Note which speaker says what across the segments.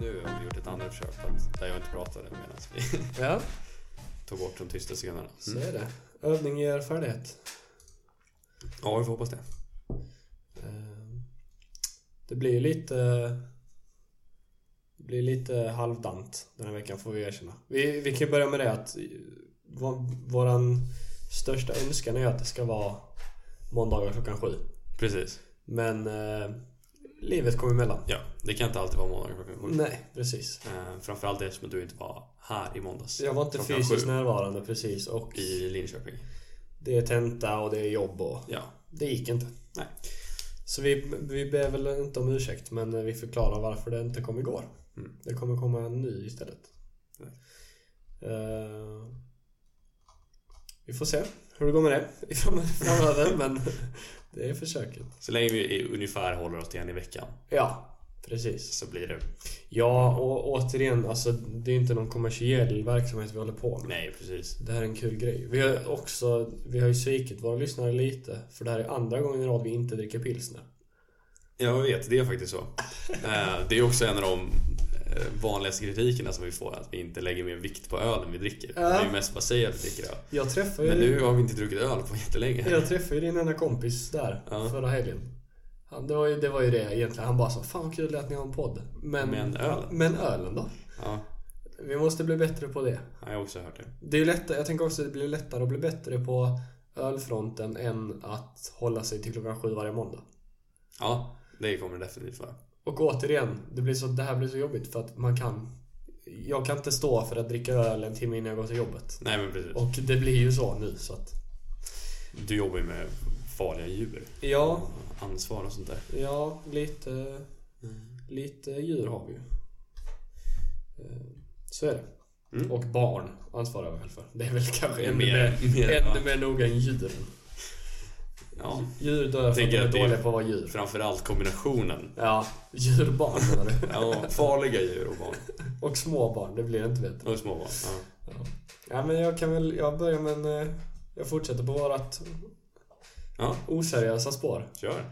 Speaker 1: nu har vi gjort ett andra försök för att, där jag inte pratade medan vi
Speaker 2: Ja,
Speaker 1: tog bort de tysta scenerna.
Speaker 2: så är det. Övning ger färdighet.
Speaker 1: Ja, vi får hoppas det.
Speaker 2: Eh, Det blir ju lite... Det blir lite halvdant den här veckan får vi erkänna. Vi, vi kan ju börja med det att eh, vår, våran största önskan är att det ska vara måndagar klockan sju.
Speaker 1: Precis.
Speaker 2: Men eh, livet kom emellan.
Speaker 1: Ja, det kan inte alltid vara måndagar klockan sju.
Speaker 2: Nej, precis.
Speaker 1: Eh, framförallt eftersom du inte var här i måndags.
Speaker 2: Jag var inte
Speaker 1: Klockan
Speaker 2: fysiskt
Speaker 1: sju
Speaker 2: närvarande precis och
Speaker 1: I Linköping.
Speaker 2: det är tenta och det är jobb och
Speaker 1: Ja,
Speaker 2: det gick inte.
Speaker 1: Nej.
Speaker 2: Så vi, vi ber väl inte om ursäkt men vi förklarar varför det inte kom igår.
Speaker 1: Mm.
Speaker 2: Det kommer komma en ny istället.
Speaker 1: Nej.
Speaker 2: Eh, vi får se hur det går med det fram- framöver men det är försöket.
Speaker 1: så länge vi är- ungefär håller oss till en i veckan
Speaker 2: Ja, precis.
Speaker 1: så blir det...
Speaker 2: Ja, och återigen, alltså, det är inte någon kommersiell verksamhet vi håller på med.
Speaker 1: Nej, precis.
Speaker 2: Det här är en kul grej. Vi har också, vi har ju svikit våra lyssnare lite. För det här är andra gången i rad vi inte dricker pilsner.
Speaker 1: Jag vet, det är faktiskt så. Eh, det är också en av de eh, vanligaste kritikerna som vi får, att vi inte lägger mer vikt på ölen vi dricker.
Speaker 2: Ja.
Speaker 1: Det är ju mest bara att säga att vi dricker öl.
Speaker 2: Jag träffade
Speaker 1: Men
Speaker 2: ju,
Speaker 1: nu har vi inte druckit öl på jättelänge.
Speaker 2: jag träffade ju din enda kompis där
Speaker 1: Ja.
Speaker 2: förra helgen. Han, det, var ju, det var ju det egentligen. Han bara sa Fan vad kul det är att ni har en podd. Men,
Speaker 1: Men ölen?
Speaker 2: men ölen då?
Speaker 1: Ja,
Speaker 2: Vi måste bli bättre på det.
Speaker 1: jag har också hört det.
Speaker 2: Det är ju lättare, jag tänker också att det blir lättare att bli bättre på ölfronten än att hålla sig till klockan sju varje måndag.
Speaker 1: Ja, det kommer det definitivt vara.
Speaker 2: Och återigen, det, blir så, det här blir så jobbigt för att man kan... Jag kan inte stå för att dricka öl en timme innan jag går till jobbet.
Speaker 1: Nej men precis.
Speaker 2: Och det blir ju så nu så att...
Speaker 1: Du jobbar ju med farliga djur.
Speaker 2: Ja,
Speaker 1: Ansvar och sånt där.
Speaker 2: ja, lite... Lite djur har vi ju. Eh, Så är det.
Speaker 1: Mm.
Speaker 2: Och barn ansvarar jag väl för. Det är väl kanske ännu
Speaker 1: Mer-
Speaker 2: mer,
Speaker 1: mer,
Speaker 2: ännu
Speaker 1: ja.
Speaker 2: mer noga än djuren.
Speaker 1: Ja,
Speaker 2: Djur dör för att de
Speaker 1: Tänker
Speaker 2: är
Speaker 1: att det är-
Speaker 2: dåliga på att vara djur.
Speaker 1: framförallt kombinationen.
Speaker 2: Ja, djurbarn menar du.
Speaker 1: Ja, farliga djur och barn.
Speaker 2: Och små barn, det blir inte bättre.
Speaker 1: Och småbarn. Ja.
Speaker 2: Ja, men jag kan väl... Jag börjar med en... eh, Jag fortsätter på vårat
Speaker 1: ja,
Speaker 2: oseriösa spår.
Speaker 1: kör.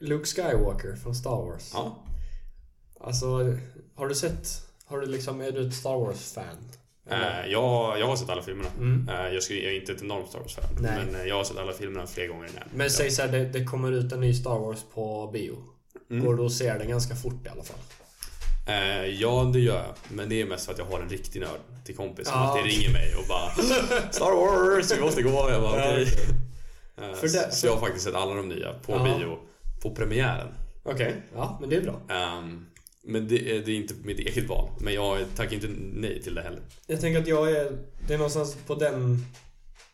Speaker 2: Luke Skywalker från Star Wars.
Speaker 1: Ja,
Speaker 2: Alltså, har du sett... Har du liksom... Är du ett Star Wars-fan?
Speaker 1: Eh, jag, jag har sett alla filmerna.
Speaker 2: Mm.
Speaker 1: Eh, Jag, skulle, jag är inte ett enormt Star Wars-fan.
Speaker 2: Nej.
Speaker 1: Men eh, jag har sett alla filmerna fler gånger än en.
Speaker 2: Men säg såhär, det, det kommer ut en ny Star Wars på bio.
Speaker 1: Mm.
Speaker 2: Går du och ser den ganska fort i alla fall?
Speaker 1: Eh, Ja, det gör jag. Men det är mest för att jag har en riktig nörd till kompis som
Speaker 2: Ja.
Speaker 1: alltid ringer mig och bara Star Wars, vi måste gå. Jag bara
Speaker 2: Ja,
Speaker 1: okej.
Speaker 2: okej.
Speaker 1: Eh,
Speaker 2: För det-
Speaker 1: Så jag har faktiskt sett alla de nya på
Speaker 2: Ja.
Speaker 1: bio. På premiären.
Speaker 2: Okej, ja men det är bra.
Speaker 1: Ehm, men det, är- det är inte mitt eget val. Men jag tackar inte nej till det heller.
Speaker 2: Jag tänker att jag är... Det är någonstans på den...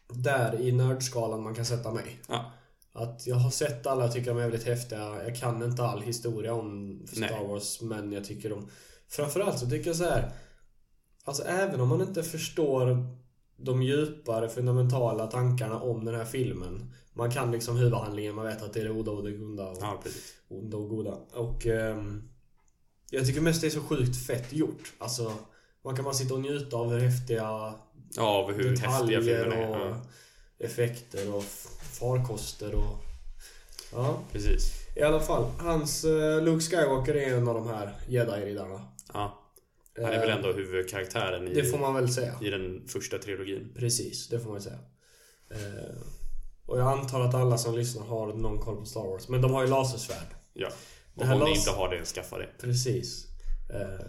Speaker 2: Där i nördskalan man kan sätta mig.
Speaker 1: Ja,
Speaker 2: Att jag har sett alla, jag tycker de är väldigt häftiga. Jag kan inte all historia om Star
Speaker 1: Nej.
Speaker 2: Wars, men jag tycker de... Framförallt så tycker jag så här. Alltså även om man inte förstår de djupare fundamentala tankarna om den här filmen. Man kan liksom huvudhandlingen, man vet att det är det onda och det goda och
Speaker 1: ja precis.
Speaker 2: onda och goda. Och ehm, jag tycker mest det är så sjukt fett gjort. Alltså, man kan bara sitta och njuta av hur häftiga
Speaker 1: Ja, och hur häftiga
Speaker 2: detaljer
Speaker 1: filmerna är.
Speaker 2: och
Speaker 1: Ja,
Speaker 2: effekter och f- farkoster och... Ja,
Speaker 1: precis.
Speaker 2: i alla fall. Hans eh, Luke Skywalker är en av de här jedi-riddarna.
Speaker 1: Ja. Han är väl ändå huvudkaraktären i,
Speaker 2: Eh, Det får man väl säga.
Speaker 1: i den första trilogin.
Speaker 2: Precis, det får man säga. Eh, och jag antar att alla som lyssnar har någon koll på Star Wars. Men de har ju lasersvärd.
Speaker 1: Ja.
Speaker 2: Det
Speaker 1: Och
Speaker 2: här
Speaker 1: om ni
Speaker 2: las-
Speaker 1: inte har det, skaffa det.
Speaker 2: Precis. Eh,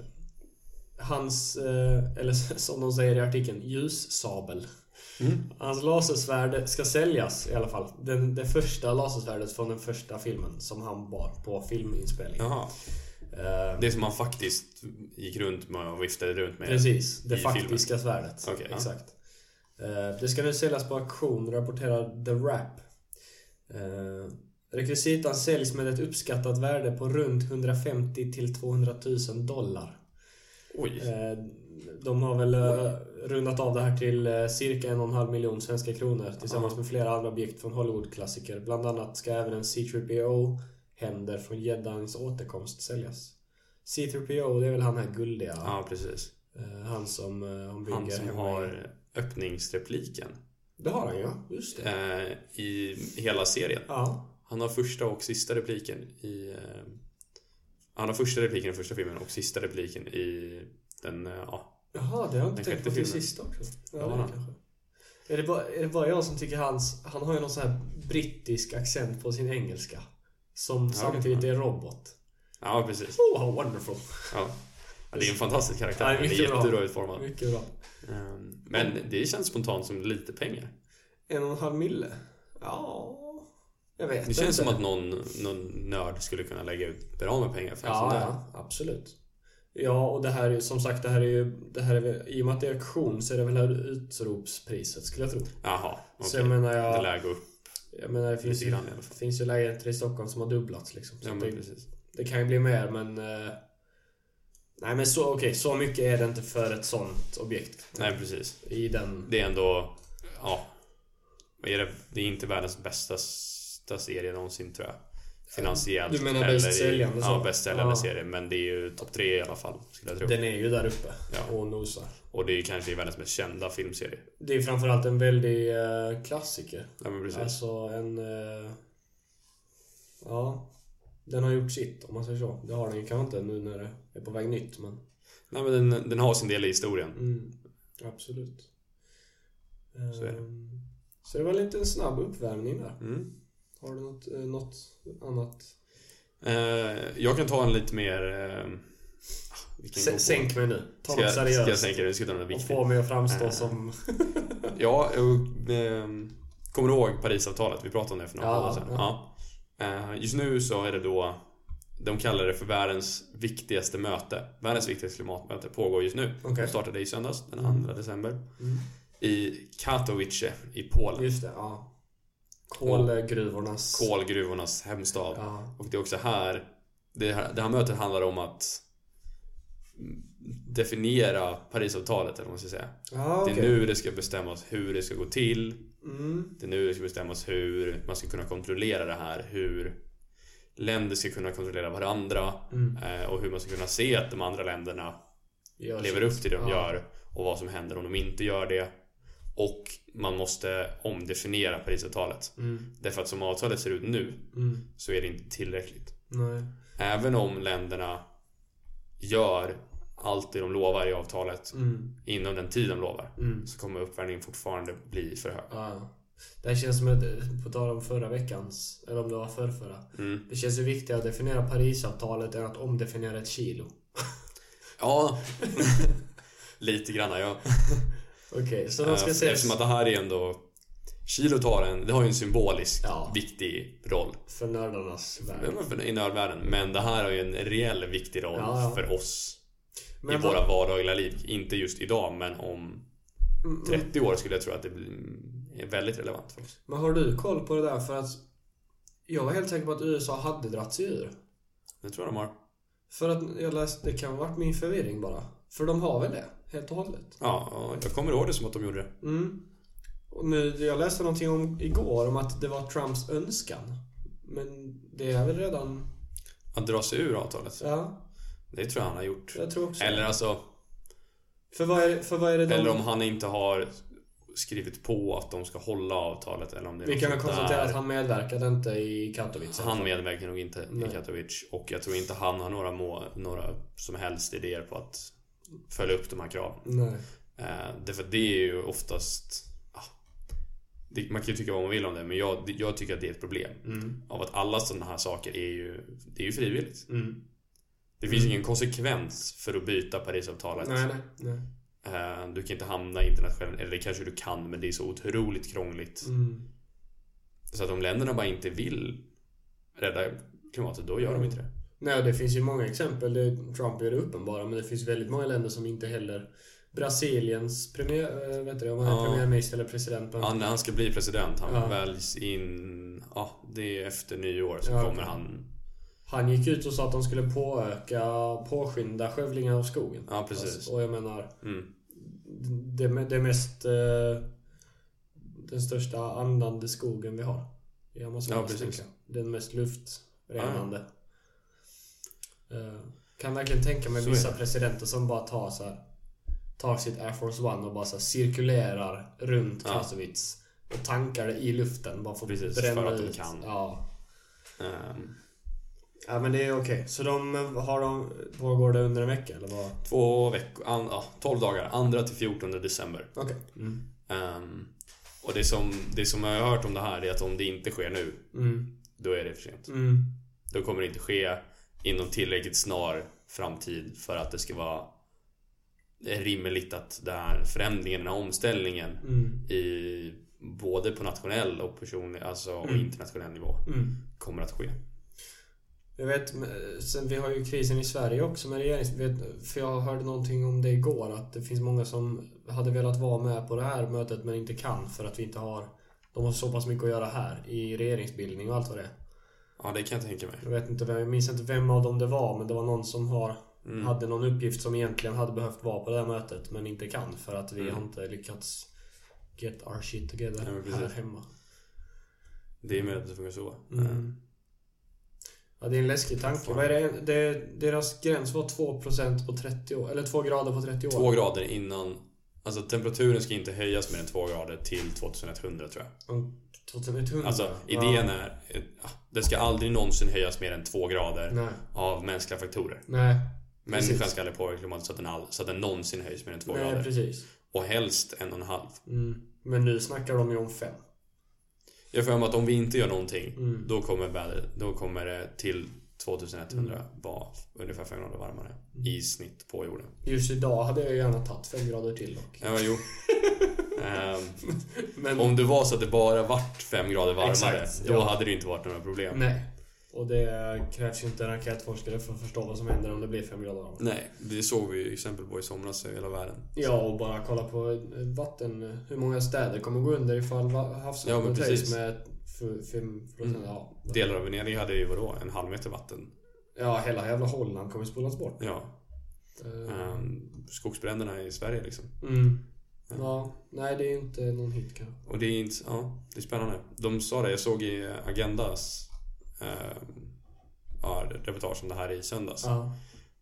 Speaker 2: hans, eh, eller som de säger i artikeln, ljussabel. Hans lasersvärd ska säljas i alla fall. Den, det första lasersvärdet från den första filmen som han bar på filminspelningen.
Speaker 1: Jaha.
Speaker 2: Eh,
Speaker 1: Det som han faktiskt gick runt med och viftade runt med.
Speaker 2: precis, det
Speaker 1: i
Speaker 2: faktiska svärdet.
Speaker 1: Okej, ja.
Speaker 2: Exakt. Eh, det ska nu säljas på auktion, rapporterar The Wrap. Eh, rekvisitan säljs med ett uppskattat värde på runt 150 till 200 000 dollar.
Speaker 1: Oj.
Speaker 2: Eh, De har väl eh, rundat av det här till eh, cirka en och en halv miljon svenska kronor tillsammans med flera andra objekt från Hollywood-klassiker. Bland annat ska även en C-3PO händer från Jeddans återkomst säljas. C-3PO, det är väl han här guldiga.
Speaker 1: Ja, precis.
Speaker 2: eh, Han som eh, han bygger
Speaker 1: Han som
Speaker 2: hemma i-
Speaker 1: har öppningsrepliken
Speaker 2: Det har han ja, just det.
Speaker 1: eh, i hela serien.
Speaker 2: Ja,
Speaker 1: Han har första och sista repliken i... eh, Han har första repliken i första filmen och sista repliken i den, eh, ja.
Speaker 2: Jaha, det har jag inte
Speaker 1: Den
Speaker 2: tänkt på
Speaker 1: sjätte
Speaker 2: till
Speaker 1: filmen.
Speaker 2: sista också. Ja,
Speaker 1: Ja,
Speaker 2: det
Speaker 1: han.
Speaker 2: kanske. Är det, bara, är det bara jag som tycker hans... Han har ju någon sån här brittisk accent på sin engelska. Som samtidigt är robot.
Speaker 1: Ja, precis.
Speaker 2: Oh, how wonderful.
Speaker 1: Ja. Ja, det är en fantastisk karaktär.
Speaker 2: Ja,
Speaker 1: Den är
Speaker 2: mycket bra.
Speaker 1: jättebra utformad.
Speaker 2: Mycket bra.
Speaker 1: Ehm, Men det känns spontant som lite pengar.
Speaker 2: En och en halv mille? Ja... Jag vet
Speaker 1: Det känns
Speaker 2: inte.
Speaker 1: som att någon, någon nörd skulle kunna lägga ut bra med pengar för en sån
Speaker 2: Ja,
Speaker 1: där.
Speaker 2: ja, absolut. Ja, och det här är som sagt, det här är ju... Det här är, väl- I och med att det är auktion så är det väl det här utropspriset skulle jag tro.
Speaker 1: Jaha, okej.
Speaker 2: Så jag menar,
Speaker 1: Det
Speaker 2: jag,
Speaker 1: lär gå upp.
Speaker 2: jag menar det finns
Speaker 1: lite
Speaker 2: ju,
Speaker 1: grann i alla fall.
Speaker 2: finns ju lägenheter i Stockholm som har dubblats liksom. Så
Speaker 1: Ja,
Speaker 2: att
Speaker 1: men
Speaker 2: det,
Speaker 1: precis.
Speaker 2: det kan ju bli mer, men... eh, nej, men så, okej, så mycket är det inte för ett sånt objekt.
Speaker 1: Nej, precis.
Speaker 2: I den...
Speaker 1: Det är ändå, ja. Vad är det? Det är inte världens bästa bästa serie någonsin tror jag. Finansiellt.
Speaker 2: Du menar
Speaker 1: eller i-
Speaker 2: bästsäljande, så?
Speaker 1: Ja, bästsäljande
Speaker 2: Ja.
Speaker 1: serie. Men det är ju topp tre i alla fall, skulle jag tro.
Speaker 2: Den är ju där uppe
Speaker 1: Ja.
Speaker 2: och nosar.
Speaker 1: Och det är ju kanske världens mest kända filmserie.
Speaker 2: Det är framförallt en väldig eh, klassiker.
Speaker 1: Ja, men precis.
Speaker 2: Alltså en... eh, ja. Den har gjort sitt om man säger så. Det har den ju kanske inte nu när det är på väg nytt men...
Speaker 1: Nej, men den, den har sin del i historien.
Speaker 2: Mm, absolut.
Speaker 1: Så är det.
Speaker 2: Ehm, Så det var lite en snabb uppvärmning där.
Speaker 1: Mm.
Speaker 2: Har du något, eh, något annat?
Speaker 1: Eh, jag kan ta en lite mer... Eh, vilken går på?
Speaker 2: sänk mig nu. Ta
Speaker 1: Ska
Speaker 2: något
Speaker 1: jag, ska jag
Speaker 2: seriöst.
Speaker 1: sänka det? Vi ska ta något
Speaker 2: och
Speaker 1: viktigt.
Speaker 2: få mig att framstå
Speaker 1: Eh,
Speaker 2: som...
Speaker 1: Ja, och, ehm, kommer du ihåg Parisavtalet? Vi pratade om det för några
Speaker 2: Ja,
Speaker 1: månader sedan. Ja. Eh, just nu så är det då, de kallar det för världens viktigaste möte. Världens viktigaste klimatmöte pågår just nu.
Speaker 2: Okej.
Speaker 1: Det startade i söndags, den 2
Speaker 2: Mm.
Speaker 1: december.
Speaker 2: Mm.
Speaker 1: I Katowice i Polen.
Speaker 2: Just det, ja. Kolgruvornas...
Speaker 1: Kolgruvornas hemstad.
Speaker 2: Ja.
Speaker 1: Och det är också här det, här, det här mötet handlar om att definiera Parisavtalet, eller vad man ska säga.
Speaker 2: Ja,
Speaker 1: Det
Speaker 2: okej.
Speaker 1: är nu det ska bestämmas hur det ska gå till.
Speaker 2: Mm.
Speaker 1: Det är nu det ska bestämmas hur man ska kunna kontrollera det här, hur länder ska kunna kontrollera varandra
Speaker 2: Mm.
Speaker 1: eh, och hur man ska kunna se att de andra länderna
Speaker 2: Gör
Speaker 1: lever
Speaker 2: sitt.
Speaker 1: upp till det de
Speaker 2: Ja.
Speaker 1: gör och vad som händer om de inte gör det. Och man måste omdefiniera Parisavtalet.
Speaker 2: Mm.
Speaker 1: Därför att som avtalet ser ut nu
Speaker 2: Mm.
Speaker 1: så är det inte tillräckligt.
Speaker 2: Nej.
Speaker 1: Även om länderna gör allt det de lovar i avtalet
Speaker 2: Mm.
Speaker 1: inom den tid de lovar
Speaker 2: Mm.
Speaker 1: så kommer uppvärmningen fortfarande bli för hög.
Speaker 2: Ja. Det här känns som ett, på tal om förra veckans, eller om det var förrförra.
Speaker 1: Mm.
Speaker 2: Det känns ju viktigare att definiera Parisavtalet än att omdefiniera ett kilo.
Speaker 1: Ja, lite grann. Ja.
Speaker 2: Okej, så de ska
Speaker 1: Eh,
Speaker 2: ses
Speaker 1: Eftersom att det här är ändå... Kilo tar en, det har ju en symbolisk
Speaker 2: Ja.
Speaker 1: viktig roll
Speaker 2: för nördarnas värld.
Speaker 1: men för- i nördvärlden. Men det här har ju en reell viktig roll
Speaker 2: Ja, ja.
Speaker 1: för oss i
Speaker 2: Men vad-
Speaker 1: våra vardagliga liv. Inte just idag, men om
Speaker 2: Mm,
Speaker 1: 30 år skulle jag tro att det blir är väldigt relevant för oss.
Speaker 2: Men har du koll på det där? För att jag var helt säker på att USA hade dragit sig ur.
Speaker 1: Det tror jag de har.
Speaker 2: För att jag läste, det kan ha varit min förvirring bara. För de har väl det, helt och hållet.
Speaker 1: Ja, ja, jag kommer ihåg det som att de gjorde det.
Speaker 2: Mm. Och nu, jag läste någonting om igår om att det var Trumps önskan. Men det är väl redan...
Speaker 1: Att dra sig ur avtalet.
Speaker 2: Ja,
Speaker 1: Det tror jag han har gjort.
Speaker 2: jag tror också
Speaker 1: Eller alltså,
Speaker 2: För vad är, för vad är det de...
Speaker 1: eller om han inte har skrivit på att de ska hålla avtalet eller om det är
Speaker 2: vi
Speaker 1: något
Speaker 2: kan väl
Speaker 1: sånt
Speaker 2: konstatera
Speaker 1: där.
Speaker 2: att han medverkade inte i Katowice.
Speaker 1: Han medverkar nog inte
Speaker 2: Liksom. Nej.
Speaker 1: i Katowice och jag tror inte han har några, må, några som helst idéer på att följa upp de här kraven.
Speaker 2: Nej.
Speaker 1: Eh, därför att det är ju oftast... ah, det, man kan ju tycka vad man vill om det men jag, jag tycker att det är ett problem.
Speaker 2: Mm.
Speaker 1: Av att alla sådana här saker är ju, det är ju frivilligt.
Speaker 2: Mm.
Speaker 1: Det finns ingen konsekvens för att byta Parisavtalet.
Speaker 2: Nej, nej, nej.
Speaker 1: Eh, du kan inte hamna i internationella... Eller det kanske du kan men det är så otroligt krångligt.
Speaker 2: Mm.
Speaker 1: Så att om länderna bara inte vill rädda klimatet, då gör de inte det.
Speaker 2: Nej, det finns ju många exempel. Det, Trump gör det uppenbara, men det finns väldigt många länder som inte heller... Brasiliens premier, äh, vet du, om han är
Speaker 1: Ja.
Speaker 2: premiärminister eller president. Men,
Speaker 1: Ja, när han ska bli president, han
Speaker 2: Ja.
Speaker 1: väljs in... Ja, det är efter nyår så
Speaker 2: Ja,
Speaker 1: kommer
Speaker 2: okej.
Speaker 1: han...
Speaker 2: Han gick ut och sa att de skulle påöka, påskynda skövlingen av skogen.
Speaker 1: Ja, precis.
Speaker 2: Alltså, och jag menar,
Speaker 1: Mm.
Speaker 2: det, det mest... eh, den största andande skogen vi har. I Amazonas,
Speaker 1: Ja, precis.
Speaker 2: tänker jag. Den mest luftrenande. Eh, kan verkligen tänka mig
Speaker 1: Ah. Så är
Speaker 2: vissa
Speaker 1: det.
Speaker 2: presidenter som bara tar så här, tar sitt Air Force One och bara så här cirkulerar runt
Speaker 1: Ja.
Speaker 2: Katowice. Och tankar det i luften. Bara för att
Speaker 1: Precis,
Speaker 2: bränna
Speaker 1: för att de
Speaker 2: ut.
Speaker 1: kan.
Speaker 2: Ja.
Speaker 1: Ehm,
Speaker 2: Ja men det är okej. Så de eh, har de, pågår det under en vecka eller vad?
Speaker 1: Två veckor, an, ja, 12 dagar. 2 till 14 december.
Speaker 2: Okej. Mm.
Speaker 1: Ehm, och det som, det som jag har hört om det här är att om det inte sker nu,
Speaker 2: Mm.
Speaker 1: då är det för sent.
Speaker 2: Mm.
Speaker 1: Då kommer det inte ske inom tillräckligt snar framtid för att det ska vara rimligt att den här förändringen, den här omställningen
Speaker 2: Mm.
Speaker 1: i både på nationell och personlig, alltså och
Speaker 2: Mm.
Speaker 1: internationell nivå
Speaker 2: Mm.
Speaker 1: kommer att ske.
Speaker 2: Jag vet, men eh, sen vi har ju krisen i Sverige också med regerings... vet- För jag hörde någonting om det igår att det finns många som hade velat vara med på det här mötet men inte kan för att vi inte har... De har så pass mycket att göra här i regeringsbildning och allt vad det är.
Speaker 1: Ja, det kan jag tänka mig.
Speaker 2: Jag vet inte, vem- jag minns inte vem av dem det var men det var någon som har,
Speaker 1: Mm.
Speaker 2: hade någon uppgift som egentligen hade behövt vara på det här mötet men inte kan för att vi
Speaker 1: Mm.
Speaker 2: har inte lyckats get our shit together
Speaker 1: Ja, men precis.
Speaker 2: här hemma.
Speaker 1: Det är möjligt att det funkar så. Eh,
Speaker 2: Mm. Ja, det är en läskig tanke.
Speaker 1: Fan.
Speaker 2: Vad är det? Det, deras gräns var 2% på 30 år. Eller 2 grader på 30 år.
Speaker 1: Två grader innan, alltså temperaturen ska inte höjas mer än två grader till 2100 tror jag.
Speaker 2: Mm, 2100.
Speaker 1: Alltså idén är, ja, det ska aldrig någonsin höjas mer än två grader
Speaker 2: Nej.
Speaker 1: av mänskliga faktorer.
Speaker 2: Nej.
Speaker 1: Människan
Speaker 2: Precis.
Speaker 1: ska aldrig påverka klimatet så att den, all, så att den någonsin höjs mer än två
Speaker 2: Nej,
Speaker 1: grader.
Speaker 2: precis.
Speaker 1: Och helst en och en halv.
Speaker 2: Mm. Men nu snackar de ju om 5.
Speaker 1: Jag får för mig att om vi inte gör någonting,
Speaker 2: Mm.
Speaker 1: då kommer, vädret, då kommer det till 2100
Speaker 2: Mm.
Speaker 1: vara ungefär 5 grader varmare i snitt på jorden.
Speaker 2: Just idag hade jag gärna tagit 5 grader till dock.
Speaker 1: Ja, jo. Ehm,
Speaker 2: Men
Speaker 1: om det var så att det bara vart 5 grader varmare,
Speaker 2: Exakt,
Speaker 1: då
Speaker 2: ja.
Speaker 1: hade det inte varit några problem.
Speaker 2: nej. Och det krävs ju inte en raketforskare för att förstå vad som händer om det blir 5 grader varmare.
Speaker 1: Nej, det såg vi ju exempel på i somras i hela världen.
Speaker 2: Ja, och bara kolla på eh, vatten. eh, Hur många städer kommer gå under ifall va-
Speaker 1: Ja, men
Speaker 2: havsvattnet höjs
Speaker 1: precis. Mm.
Speaker 2: med 5 procent? Ja.
Speaker 1: Delar av Venedig hade ju vadå, en halv meter vatten.
Speaker 2: ja, hela jävla Holland kommer spolas bort.
Speaker 1: Ja.
Speaker 2: Eh,
Speaker 1: ehm, skogsbränderna i Sverige liksom.
Speaker 2: Mm. Ja, nej det är inte någon hit kanske.
Speaker 1: Och det är inte, ja, det är spännande. De sa det, jag såg i Agendas eh, ja, reportage om det här i söndags.
Speaker 2: Ja.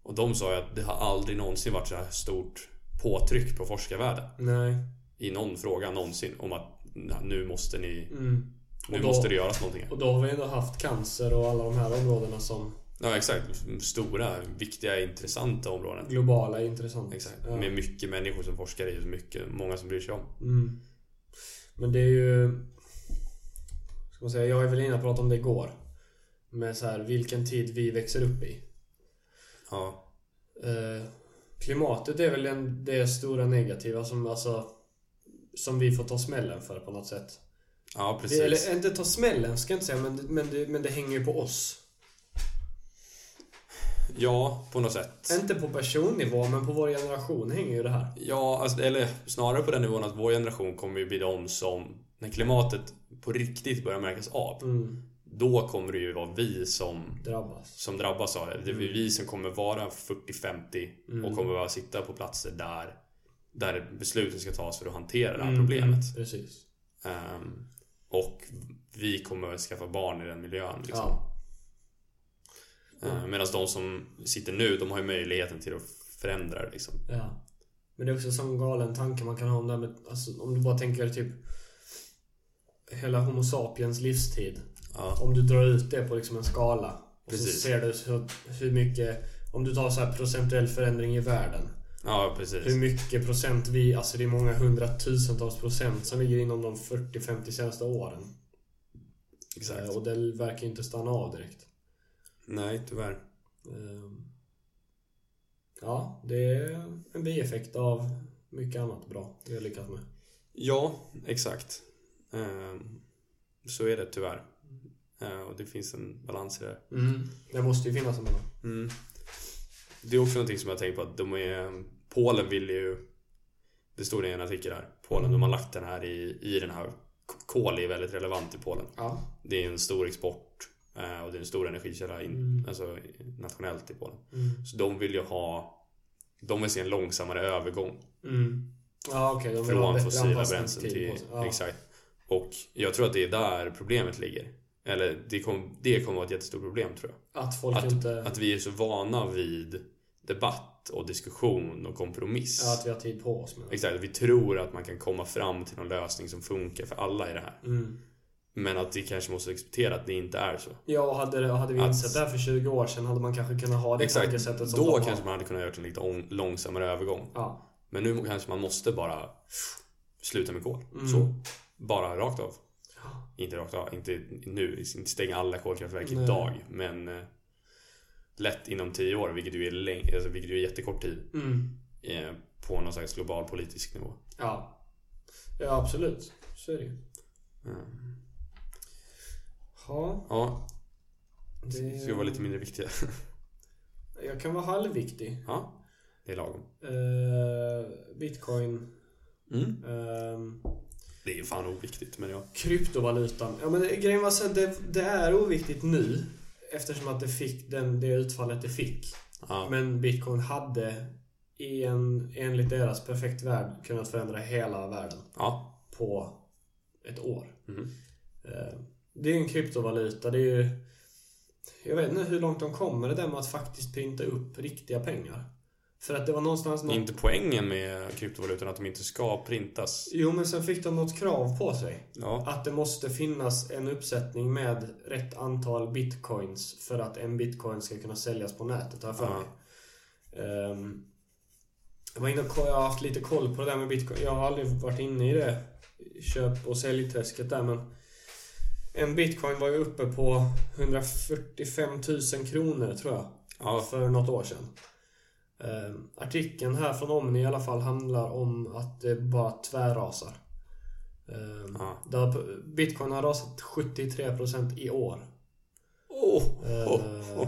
Speaker 1: Och de sa ju att det har aldrig någonsin varit så här stort påtryck på forskarvärlden
Speaker 2: Nej.
Speaker 1: i någon fråga någonsin om att "Na, nu måste ni,
Speaker 2: Mm.
Speaker 1: nu
Speaker 2: Och då-
Speaker 1: måste det göras någonting.
Speaker 2: Och då har vi ändå haft cancer och alla de här områdena som
Speaker 1: Ja exakt, stora, viktiga, intressanta områden.
Speaker 2: globala är intressanta.
Speaker 1: Exakt.
Speaker 2: Ja.
Speaker 1: Med mycket människor som forskar i och mycket, många som bryr sig om.
Speaker 2: Mm. Men det är ju... Ska man säga, jag och Evelina pratade om det igår. Med så här, vilken tid vi växer upp i.
Speaker 1: Ja,
Speaker 2: Eh, klimatet är väl den, det stora negativa som, alltså, som vi får ta smällen för på något sätt.
Speaker 1: ja
Speaker 2: Vi,
Speaker 1: precis.
Speaker 2: eller inte ta smällen ska jag inte säga, men, det- men, det, men det hänger ju på oss.
Speaker 1: Ja, på något sätt.
Speaker 2: Inte på personnivå, men på vår generation hänger ju det här.
Speaker 1: Ja, alltså, eller snarare på den nivån att vår generation kommer ju bli de som, när klimatet på riktigt börjar märkas av,
Speaker 2: Mm,
Speaker 1: då kommer det ju vara vi som,
Speaker 2: drabbas.
Speaker 1: som drabbas av det. Det är vi som kommer vara 40-50
Speaker 2: Mm.
Speaker 1: och kommer behöva sitta på platser där, där besluten ska tas för att hantera det här
Speaker 2: Mm,
Speaker 1: problemet.
Speaker 2: Precis.
Speaker 1: Ehm, och vi kommer att skaffa barn i den miljön. Liksom.
Speaker 2: Ja.
Speaker 1: Ehm, Medan de som sitter nu, de har ju möjligheten till att förändra det. Liksom.
Speaker 2: ja. Men det är också en sån galen tanke man kan ha om det här med, alltså, om du bara tänker typ hela Homo sapiens livstid.
Speaker 1: Ja.
Speaker 2: Om du drar ut det på liksom en skala. Och så
Speaker 1: Precis.
Speaker 2: ser du så, hur mycket, om du tar så här procentuell förändring i världen.
Speaker 1: ja, precis.
Speaker 2: Hur mycket procent vi, alltså det är många hundratusentals procent som ligger inom de 40-50 senaste åren.
Speaker 1: Exakt.
Speaker 2: Eh, Och det verkar ju inte stanna av direkt.
Speaker 1: Nej, tyvärr.
Speaker 2: Ehm, Ja, det är en bieffekt av mycket annat bra vi har lyckats med.
Speaker 1: Ja, exakt. Ehm, Så är det tyvärr. Ehm, Och det finns en balans i det.
Speaker 2: Det måste ju finnas en mellan.
Speaker 1: Mm. Det är också någonting som jag har tänkt på att de är... Polen vill ju... Det stod i en artikel här. Polen, de har lagt den här i, i den här... Kol är väldigt relevant i Polen.
Speaker 2: Ja.
Speaker 1: Det är en stor export eh, och det är en stor energikälla in,
Speaker 2: Mm.
Speaker 1: alltså nationellt i Polen.
Speaker 2: Mm.
Speaker 1: Så de vill ju ha... De vill se en långsammare övergång
Speaker 2: Mm. Ja, okej. de vill ha
Speaker 1: från
Speaker 2: bättre
Speaker 1: fossila
Speaker 2: anpassningstid
Speaker 1: bränslen till...
Speaker 2: på sig. Ja.
Speaker 1: Exakt. Och jag tror att det är där problemet ligger. Eller det kommer, det kommer vara ett jättestort problem tror jag.
Speaker 2: Att folk inte...
Speaker 1: Att vi är så vana vid debatt och diskussion och kompromiss.
Speaker 2: ja, att vi har tid på oss. Men.
Speaker 1: Exakt, vi tror att man kan komma fram till någon lösning som funkar för alla i det här.
Speaker 2: Mm.
Speaker 1: Men att vi kanske måste acceptera att det inte är så.
Speaker 2: Ja, och hade, och hade vi
Speaker 1: Att-
Speaker 2: insett det här för 20 år sedan hade man kanske kunnat ha det tankesättet som de
Speaker 1: Då
Speaker 2: har.
Speaker 1: kanske man hade kunnat göra en lite ång- långsammare övergång.
Speaker 2: Ja.
Speaker 1: Men nu kanske man måste bara sluta med kol.
Speaker 2: Mm.
Speaker 1: Så. Bara rakt av. Inte rakt av, inte nu, inte stänga alla kolkraftverk
Speaker 2: Nej.
Speaker 1: idag. Men eh, lätt inom tio år, vilket ju är, läng- alltså, vilket ju är jättekort tid.
Speaker 2: Mm.
Speaker 1: eh, På någon slags global politisk nivå.
Speaker 2: Ja. Ja, absolut. Så är det ju.
Speaker 1: Mm.
Speaker 2: Ja,
Speaker 1: Ja,
Speaker 2: det...
Speaker 1: ska vara lite mindre viktiga.
Speaker 2: Jag kan vara halvviktig.
Speaker 1: ja, det är lagom.
Speaker 2: Eh, bitcoin.
Speaker 1: Mm.
Speaker 2: ehm,
Speaker 1: Det är ju fan oviktigt, men ja.
Speaker 2: kryptovalutan. Ja, men det- grejen var så här, det, det är oviktigt nu. Eftersom att det fick den, det utfallet det fick.
Speaker 1: ja.
Speaker 2: Men bitcoin hade i en, enligt deras perfekt värld kunnat förändra hela världen
Speaker 1: ja.
Speaker 2: på ett år.
Speaker 1: Mm.
Speaker 2: Eh, Det är ju en kryptovaluta. Det är ju, jag vet inte hur långt de kommer det där med att faktiskt printa upp riktiga pengar. För att det var någonstans någon...
Speaker 1: Inte poängen med kryptovalutan att de inte ska printas.
Speaker 2: Jo, men sen fick de något krav på sig.
Speaker 1: Ja.
Speaker 2: Att det måste finnas en uppsättning med rätt antal bitcoins för att en bitcoin ska kunna säljas på nätet, har jag för
Speaker 1: Ja.
Speaker 2: mig. Ehm, jag, var inne och, koll- jag har haft lite koll på det där med bitcoin. Jag har aldrig varit inne i det köp och säljträsket där, men en bitcoin var ju uppe på 145 000 kronor, tror jag
Speaker 1: ja.
Speaker 2: för något år sedan. Ehm, artikeln här från Omni i alla fall handlar om att det bara tvärrasar. Um,
Speaker 1: Ja.
Speaker 2: Bitcoin har rasat 73% i år.
Speaker 1: Oh,
Speaker 2: Ehm,
Speaker 1: oh, oh.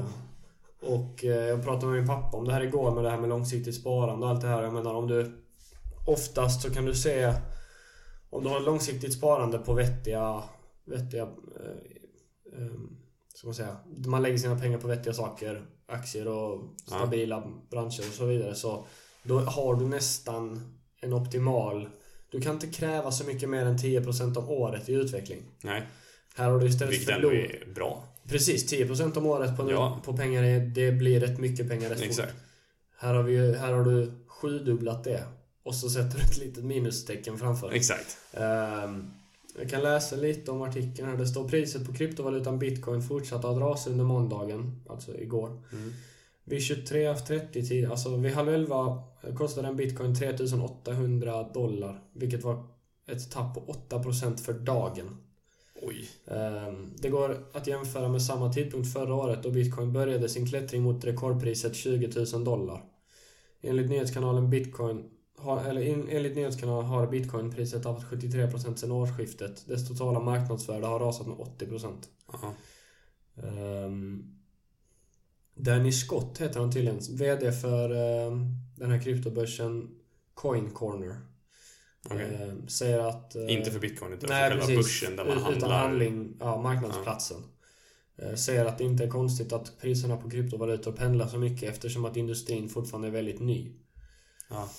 Speaker 2: Och eh, jag pratade med min pappa om det här igår med det här med långsiktigt sparande och allt det här. Jag menar om du oftast så kan du se om du har långsiktigt sparande på vettiga, vettiga eh, eh, ska man säga, man lägger sina pengar på vettiga saker, aktier och
Speaker 1: Ja.
Speaker 2: stabila branscher och så vidare. Så då har du nästan en optimal, du kan inte kräva så mycket mer än 10% om året i utveckling.
Speaker 1: Nej,
Speaker 2: Här har du istället
Speaker 1: vilket ändå är bra.
Speaker 2: Precis, 10% om året på, nu,
Speaker 1: Ja.
Speaker 2: på pengar, är- det blir rätt mycket pengar rätt fort.
Speaker 1: Exakt.
Speaker 2: Här har, vi, ju- här har du sjudubblat det. Och så sätter du ett litet minustecken framför.
Speaker 1: Exakt.
Speaker 2: Ehm, jag kan läsa lite om artikeln här. Det står priset på kryptovalutan bitcoin fortsatte att rasa under måndagen, alltså igår.
Speaker 1: Mm.
Speaker 2: Vid 23.30 tid, alltså vid halv 11 kostade en bitcoin 3800 dollar. Vilket var ett tapp på 8% för dagen.
Speaker 1: Oj.
Speaker 2: Ehm, Det går att jämföra med samma tidpunkt förra året då bitcoin började sin klättring mot rekordpriset 20 000 dollar. Enligt nyhetskanalen Bitcoin har, eller in, enligt nyhetskanalen har bitcoinpriset tappat 73% sedan årsskiftet. Dess totala marknadsvärde har rasat med 80%.
Speaker 1: Ja.
Speaker 2: Um, Danny Scott heter han tydligen. VD för ehm, den här kryptobörsen Coin Corner.
Speaker 1: Okej.
Speaker 2: Ehm, säger att... eh,
Speaker 1: Inte för bitcoin utan för
Speaker 2: Nej,
Speaker 1: själva
Speaker 2: precis.
Speaker 1: börsen där man
Speaker 2: Ut- Utan
Speaker 1: handlar.
Speaker 2: handling, ja, marknadsplatsen. Eh, Säger att det inte är konstigt att priserna på kryptovalutor pendlar så mycket eftersom att industrin fortfarande är väldigt ny.
Speaker 1: Ja.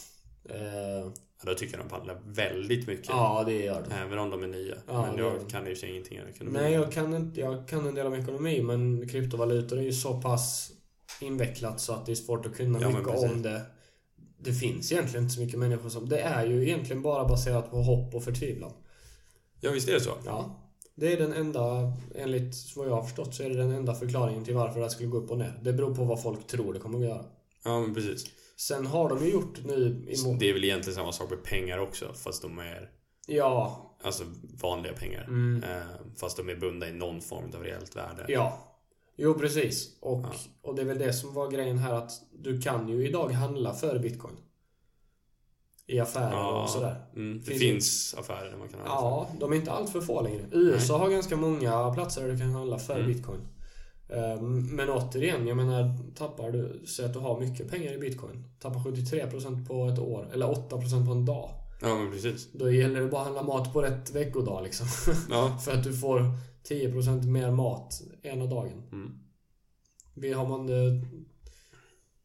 Speaker 2: Eh,
Speaker 1: Ja, då tycker jag de handlar väldigt mycket.
Speaker 2: Ja, det gör det.
Speaker 1: Även om de är nya.
Speaker 2: Ja,
Speaker 1: Men
Speaker 2: det gör
Speaker 1: jag
Speaker 2: de.
Speaker 1: kan i och för sig ingenting om ekonomi.
Speaker 2: Nej, jag kan, inte, jag kan en del om ekonomi men kryptovalutor är ju så pass invecklat så att det är svårt att kunna
Speaker 1: Ja, men
Speaker 2: mycket
Speaker 1: precis.
Speaker 2: om det. Det finns egentligen inte så mycket människor som... Det är ju egentligen bara baserat på hopp och förtvivlan.
Speaker 1: Ja, visst är det så?
Speaker 2: Ja. Det är den enda, enligt vad jag har förstått, så är det den enda förklaringen till varför det här skulle gå upp och ner. Det beror på vad folk tror det kommer att göra.
Speaker 1: Ja, men precis.
Speaker 2: Sen har de ju gjort nu i
Speaker 1: Så
Speaker 2: må-
Speaker 1: Det är väl egentligen samma sak med pengar också. Fast de är
Speaker 2: Ja,
Speaker 1: alltså vanliga pengar.
Speaker 2: Mm.
Speaker 1: Eh, Fast de är bundna i någon form av reellt värde.
Speaker 2: ja. Jo, precis. Och,
Speaker 1: Ja.
Speaker 2: och det är väl det som var grejen här att du kan ju idag handla för bitcoin. I affärer
Speaker 1: Ja.
Speaker 2: och sådär.
Speaker 1: Mm, det
Speaker 2: Finns
Speaker 1: finns,
Speaker 2: det-
Speaker 1: affärer där man kan handla
Speaker 2: Ja, de är inte allt för få längre. USA har ganska många platser där du kan handla för
Speaker 1: Mm.
Speaker 2: bitcoin. Ehm, Men återigen, jag menar, tappar du, säg att du har mycket pengar i bitcoin. Tappar 73% på ett år, eller 8% på en dag.
Speaker 1: för. Ja, men precis.
Speaker 2: Då gäller det bara att handla mat på rätt veckodag liksom.
Speaker 1: Ja.
Speaker 2: För att du får 10% mer mat ena dagen.
Speaker 1: Mm.
Speaker 2: Vi har man det,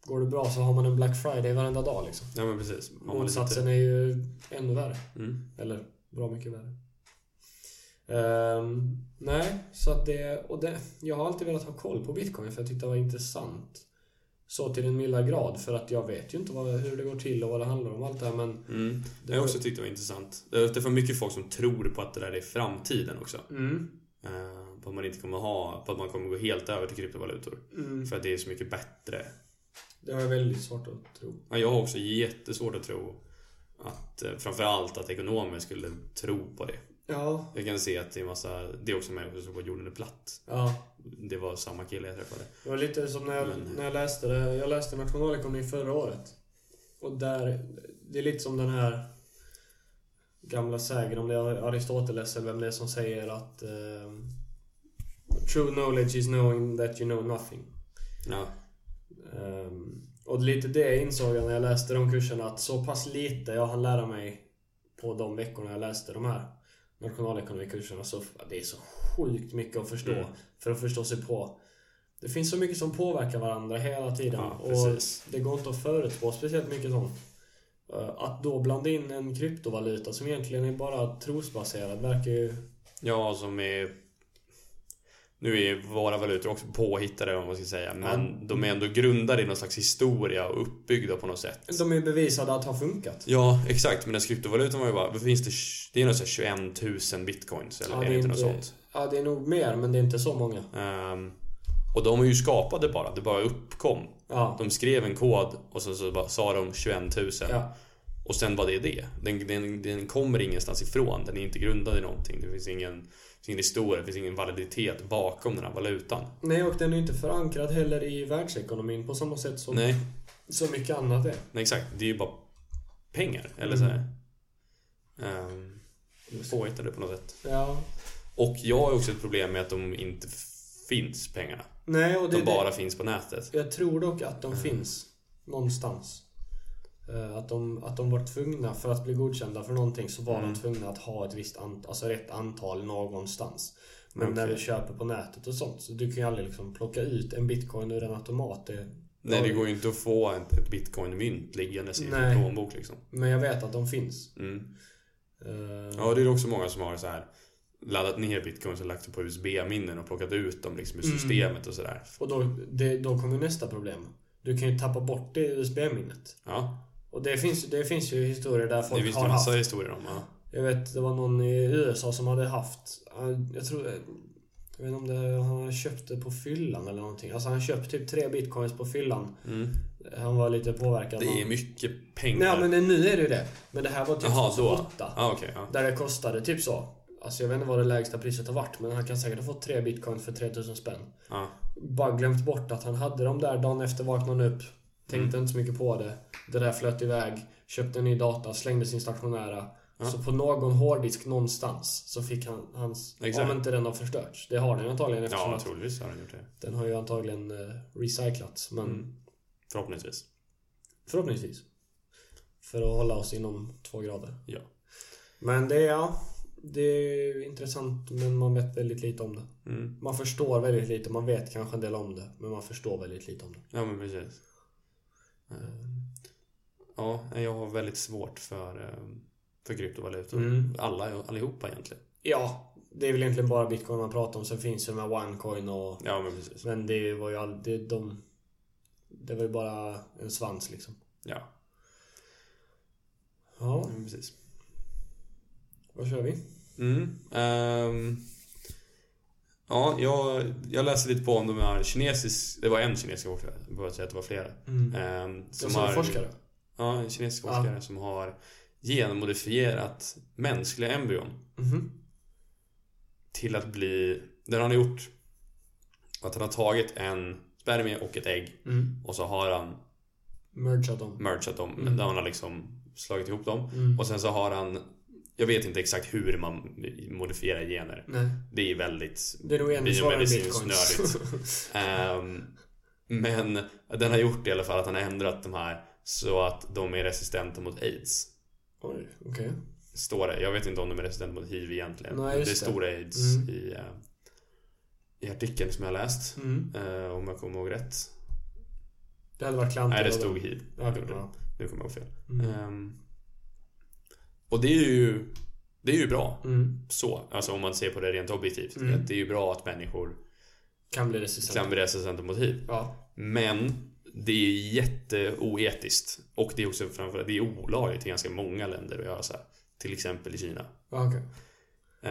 Speaker 2: går det bra så har man en Black Friday varenda dag liksom.
Speaker 1: ja, men precis. Har man lite-
Speaker 2: Motsatsen är ju ännu värre.
Speaker 1: Mm.
Speaker 2: Eller bra mycket värre. Ehm, nej, så att det... Och det, jag har alltid velat ha koll på bitcoin för jag tyckte det var intressant. så till den milda grad för att jag vet ju inte vad, hur det går till och vad det handlar om allt det här men
Speaker 1: Mm. Det har jag också tyckt det var intressant. Det är för mycket folk som tror på att det där är framtiden också.
Speaker 2: mm,
Speaker 1: Eh, På att man inte kommer ha, på att man kommer gå helt över till kryptovalutor.
Speaker 2: mm,
Speaker 1: För att det är så mycket bättre.
Speaker 2: det har jag väldigt svårt att tro.
Speaker 1: Ja, Jag har också jättesvårt att tro att eh, framförallt att ekonomer skulle tro på det.
Speaker 2: Ja,
Speaker 1: Jag kan se att det är massa, det är också människor som tror på att jorden är platt.
Speaker 2: ja.
Speaker 1: Det var samma kille jag träffade.
Speaker 2: Det var lite som när jag,
Speaker 1: Men-
Speaker 2: när jag läste det. Jag läste nationalekonomi förra året. Och där, det är lite som den här gamla sägen om det är Aristoteles eller vem det är som säger att ehm, True knowledge is knowing that you know nothing.
Speaker 1: Ja,
Speaker 2: Ehm, och lite det insåg jag när jag läste de kurserna att så pass lite jag hann lära mig på de veckorna jag läste de här nationalekonomikurserna så det är så sjukt mycket att förstå
Speaker 1: Mm.
Speaker 2: för att förstå sig på. Det finns så mycket som påverkar varandra hela tiden
Speaker 1: Ja,
Speaker 2: och
Speaker 1: precis.
Speaker 2: det går inte att förutspå speciellt mycket sånt. Eh, Att då blanda in en kryptovaluta som egentligen är bara trosbaserad verkar ju...
Speaker 1: ja som är... Nu är våra valutor också påhittade om man ska säga. Men de är ändå grundade i någon slags historia och uppbyggda på något sätt.
Speaker 2: De är ju bevisade att ha funkat.
Speaker 1: Ja, exakt. Men den kryptovalutan var ju bara... Vad finns det? Det är nog så här 21 000 bitcoins eller
Speaker 2: Ja,
Speaker 1: är
Speaker 2: det
Speaker 1: det
Speaker 2: är
Speaker 1: inte något
Speaker 2: inte-
Speaker 1: sånt?
Speaker 2: Ja, det är nog mer men det är inte så många.
Speaker 1: Ehm, och de är ju skapade bara. Det bara uppkom.
Speaker 2: Ja.
Speaker 1: De skrev en kod och sen så bara, sa de 21 000.
Speaker 2: ja.
Speaker 1: Och sen var det det. Den, den, den kommer ingenstans ifrån. Den är inte grundad i någonting. Det finns ingen, det finns ingen historia, det finns ingen validitet bakom den här valutan.
Speaker 2: Nej, och den är inte förankrad heller i världsekonomin på samma sätt som
Speaker 1: Nej,
Speaker 2: så mycket annat är.
Speaker 1: nej exakt. Det är ju bara pengar.
Speaker 2: Mm.
Speaker 1: Eller så här. Um, påhittade på något sätt.
Speaker 2: Ja.
Speaker 1: Och jag har också ett problem med att de inte f- finns pengarna.
Speaker 2: Nej, och det,
Speaker 1: De
Speaker 2: är
Speaker 1: bara Mm. finns på nätet.
Speaker 2: det. Jag tror dock att de finns någonstans. Eh, Att de, att de var tvungna, för att bli godkända för någonting, så var
Speaker 1: Mm.
Speaker 2: de tvungna att ha ett visst antal, alltså rätt antal någonstans. Men när
Speaker 1: Okej.
Speaker 2: du köper på nätet och sånt, så du kan ju aldrig liksom plocka ut en bitcoin ur en automat. Det,
Speaker 1: Nej, det går ju inte att få ett ett bitcoin-mynt liggandes i
Speaker 2: Nej.
Speaker 1: sin plånbok liksom.
Speaker 2: Men jag vet att de finns.
Speaker 1: Mm.
Speaker 2: Eh,
Speaker 1: Ja, det är också många som har så här laddat ner bitcoins och lagt det på USB-minnen och plockat ut dem liksom ur
Speaker 2: Mm.
Speaker 1: systemet och sådär.
Speaker 2: Och då, det, då kommer nästa problem. Du kan ju tappa bort det USB-minnet.
Speaker 1: Ja,
Speaker 2: Och det finns, det finns ju historier där
Speaker 1: det
Speaker 2: folk
Speaker 1: finns det
Speaker 2: har
Speaker 1: en massa
Speaker 2: haft.
Speaker 1: historier om. Ja.
Speaker 2: Jag vet, det var någon i USA som hade haft. han- Jag tror... Jag vet inte om det, han köpte på fyllan eller någonting. Alltså han köpte typ tre bitcoins på fyllan.
Speaker 1: Mm.
Speaker 2: Han var lite påverkad.
Speaker 1: Det är mycket pengar.
Speaker 2: Nej men nu är det ju det. Men det här var typ
Speaker 1: Jaha, då.
Speaker 2: 2008.
Speaker 1: Ja, okej. ja.
Speaker 2: Där det kostade typ så. Alltså jag vet inte vad det lägsta priset har varit men han kan säkert ha fått tre bitcoins för 3000 spänn.
Speaker 1: ja.
Speaker 2: Bara glömt bort att han hade dem där dagen efter vaknade han upp.
Speaker 1: Mm.
Speaker 2: Tänkte inte så mycket på det. Det där flöt iväg. Köpte en ny data, slängde sin stationära. Så på någon hårddisk någonstans så fick han hans...
Speaker 1: Exakt.
Speaker 2: Om inte den har förstörts. Det har den antagligen eftersom
Speaker 1: Ja,
Speaker 2: att
Speaker 1: troligtvis har den gjort det.
Speaker 2: den har ju antagligen eh, recyclats. Men
Speaker 1: Mm. Förhoppningsvis.
Speaker 2: förhoppningsvis. För att hålla oss inom två grader.
Speaker 1: Ja.
Speaker 2: Men det är, ja, det är intressant men man vet väldigt lite om det.
Speaker 1: Mm.
Speaker 2: Man förstår väldigt lite. Man vet kanske en del om det. Men man förstår väldigt lite om det.
Speaker 1: Ja, men precis. Ehm, Ja, nej, jag har väldigt svårt för, eh, för kryptovalutor.
Speaker 2: Mm.
Speaker 1: Alla, allihopa egentligen.
Speaker 2: Ja, det är väl egentligen bara bitcoin man pratar om. Sen finns ju de här onecoin och...
Speaker 1: Ja, men precis.
Speaker 2: Men det var ju aldrig de... Det var ju bara en svans liksom.
Speaker 1: Ja,
Speaker 2: Ja,
Speaker 1: men precis.
Speaker 2: vad kör vi?
Speaker 1: Mm. ehm, ja, jag, jag läste lite på om de här kinesiska... Det var en kinesisk forskare, jag behöver säga att det var flera.
Speaker 2: Mm.
Speaker 1: ehm,
Speaker 2: Som, som forskare?
Speaker 1: Ja, en kinesisk forskare som har genmodifierat mänskliga embryon
Speaker 2: Mhm.
Speaker 1: till att bli... Det han har gjort att han har tagit en spermie och ett ägg
Speaker 2: Mm.
Speaker 1: och så har han
Speaker 2: Mergat dem.
Speaker 1: mergat dem.
Speaker 2: Mm.
Speaker 1: Där han har liksom slagit ihop dem.
Speaker 2: Mm.
Speaker 1: Och sen så har han... Jag vet inte exakt hur man modifierar gener.
Speaker 2: Nej,
Speaker 1: Det är väldigt
Speaker 2: det är nog ännu svårare än bitcoins.
Speaker 1: Ehm, men den har gjort det i alla fall att han har ändrat de här så att de är resistenta mot aids.
Speaker 2: Oj, okej.
Speaker 1: Står det. Jag vet inte om de är resistenta mot hiv egentligen.
Speaker 2: Nej,
Speaker 1: men det
Speaker 2: just det.
Speaker 1: står aids
Speaker 2: Mm.
Speaker 1: i, eh, i artikeln som jag har läst.
Speaker 2: Mm.
Speaker 1: eh, om jag kommer ihåg rätt.
Speaker 2: Det hade varit klantigt.
Speaker 1: Nej, det
Speaker 2: av dem.
Speaker 1: stod hiv.
Speaker 2: Ja,
Speaker 1: Det gjorde
Speaker 2: ja.
Speaker 1: Nu kommer jag ihåg fel.
Speaker 2: Mm.
Speaker 1: Ehm, och det är ju det är ju bra.
Speaker 2: Mm.
Speaker 1: Så, alltså om man ser på det rent objektivt.
Speaker 2: Mm.
Speaker 1: Att det är ju bra att människor
Speaker 2: Kan bli resistent.
Speaker 1: kan bli resistenta mot hiv.
Speaker 2: Ja.
Speaker 1: Men det är jätteoetiskt. Och det är också framförallt, det är olagligt i ganska många länder att göra så här. Till exempel i Kina.
Speaker 2: Ja, okej.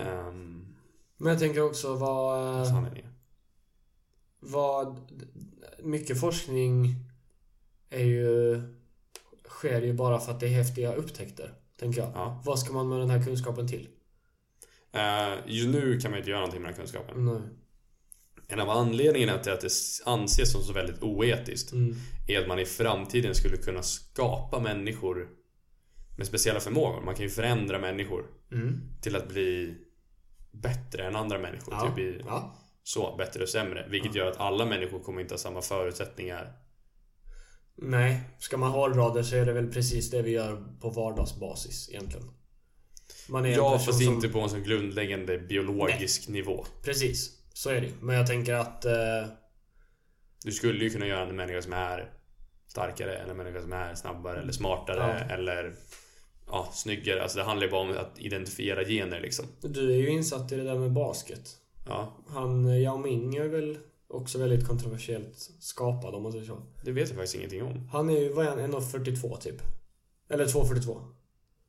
Speaker 1: Um,
Speaker 2: Men jag tänker också vad... eh,
Speaker 1: sanningen.
Speaker 2: vad mycket forskning är ju, sker ju bara för att det är häftiga upptäckter, tänker jag.
Speaker 1: Ja.
Speaker 2: Vad ska man med den här kunskapen till?
Speaker 1: Eh, just nu kan man inte göra någonting med den här kunskapen.
Speaker 2: Nej.
Speaker 1: En av anledningarna till att det anses som så väldigt oetiskt
Speaker 2: Mm.
Speaker 1: är att man i framtiden skulle kunna skapa människor med speciella förmågor. Man kan ju förändra människor
Speaker 2: Mm.
Speaker 1: till att bli bättre än andra människor.
Speaker 2: Ja.
Speaker 1: Typ i,
Speaker 2: ja.
Speaker 1: så, bättre och sämre. Vilket gör att alla människor kommer inte ha samma förutsättningar.
Speaker 2: Nej, ska man hårdra det så är det väl precis det vi gör på vardagsbasis egentligen. Man är en
Speaker 1: Ja,
Speaker 2: person
Speaker 1: fast
Speaker 2: som-
Speaker 1: inte på en sån grundläggande biologisk nivå.
Speaker 2: Precis, så är det ju. Men jag tänker att eh,
Speaker 1: Du skulle ju kunna göra en människa som är starkare eller en människa som är snabbare eller smartare eller ja, snyggare. Alltså det handlar ju bara om att identifiera gener liksom.
Speaker 2: du är ju insatt i det där med basket.
Speaker 1: Ja,
Speaker 2: Han eh, Yao Ming är väl också väldigt kontroversiellt skapad om man säger så.
Speaker 1: det vet jag faktiskt ingenting om.
Speaker 2: Han är ju, vad är han, 1,42 typ? Eller 2,42.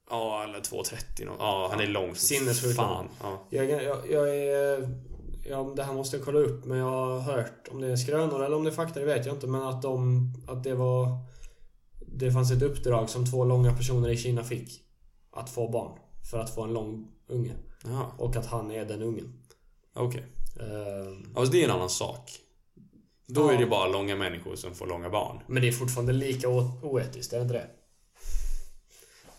Speaker 1: Ja, eller 2,30 någon. Ja, han är lång som
Speaker 2: Sinnessjukt
Speaker 1: fan. Ja.
Speaker 2: Jag, jag, jag är... Ja, det här måste jag kolla upp men jag har hört om det är skrönor eller om det är fakta, det vet jag inte. Men att de... Att det var... Det fanns ett uppdrag som två långa personer i Kina fick. Att få barn. För att få en lång unge.
Speaker 1: Jaha,
Speaker 2: Och att han är den ungen.
Speaker 1: okej.
Speaker 2: Ehm,
Speaker 1: Alltså det är en annan sak. Då
Speaker 2: Ja.
Speaker 1: är det bara långa människor som får långa barn.
Speaker 2: Men det är fortfarande lika o- oetiskt, är det inte det?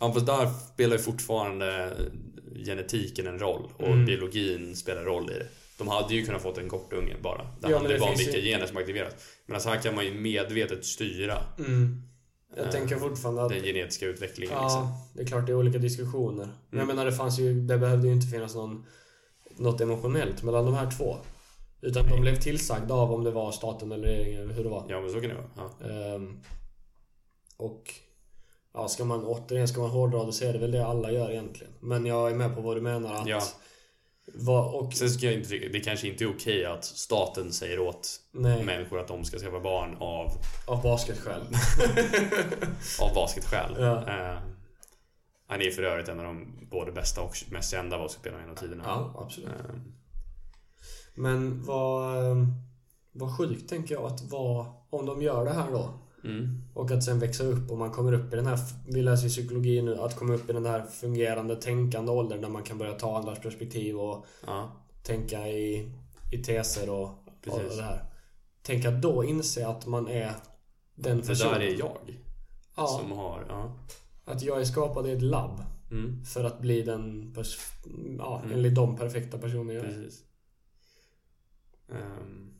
Speaker 1: Ja, fast där spelar ju fortfarande genetiken en roll och
Speaker 2: Mm.
Speaker 1: biologin spelar roll i det. De hade ju kunnat fått en kort unge bara.
Speaker 2: Ja,
Speaker 1: Där
Speaker 2: men
Speaker 1: handlar det
Speaker 2: det
Speaker 1: bara om
Speaker 2: finns
Speaker 1: vilka
Speaker 2: ju-
Speaker 1: gener som aktiveras. Men alltså här kan man ju medvetet styra
Speaker 2: Jag
Speaker 1: Ehm,
Speaker 2: tänker fortfarande att...
Speaker 1: den genetiska utvecklingen. Liksom. Mm.
Speaker 2: Ja, det är klart det är olika diskussioner. Men jag menar, det fanns ju, det behövde ju inte finnas någon, något emotionellt mellan de här två. Utan de blev tillsagda av om det var staten eller regeringen eller hur det var.
Speaker 1: Ja, men så kan det vara. Ja.
Speaker 2: Ehm, och ja, ska man återigen ska man hårdra det så är det väl det alla gör egentligen. Men jag är med på vad du menar att...
Speaker 1: Ja.
Speaker 2: Vad, och,
Speaker 1: Sen ska jag inte tycka, det kanske inte är okej att staten säger åt
Speaker 2: nej,
Speaker 1: människor att de ska skaffa barn av,
Speaker 2: av basketskäl.
Speaker 1: av basketskäl.
Speaker 2: Ja.
Speaker 1: Eh, han är för övrigt en av de både bästa och mest kända basketspelarna genom tiderna.
Speaker 2: Ja, absolut.
Speaker 1: Eh,
Speaker 2: Men vad, ehm, vad sjukt tänker jag att vad, om de gör det här då.
Speaker 1: mm.
Speaker 2: Och att sen växa upp och man kommer upp i den här, vi läser ju psykologi nu, att komma upp i den här fungerande tänkande åldern där man kan börja ta andras perspektiv och
Speaker 1: ja.
Speaker 2: tänka i, i teser och, och
Speaker 1: Precis.
Speaker 2: det här. Tänk att då inse att man är den
Speaker 1: Det där
Speaker 2: personen.
Speaker 1: är jag
Speaker 2: ja,
Speaker 1: som har... Ja.
Speaker 2: att jag är skapad i ett labb
Speaker 1: Mm,
Speaker 2: för att bli den, pers- ja, enligt de perfekta personer jag är.
Speaker 1: precis. Ehm,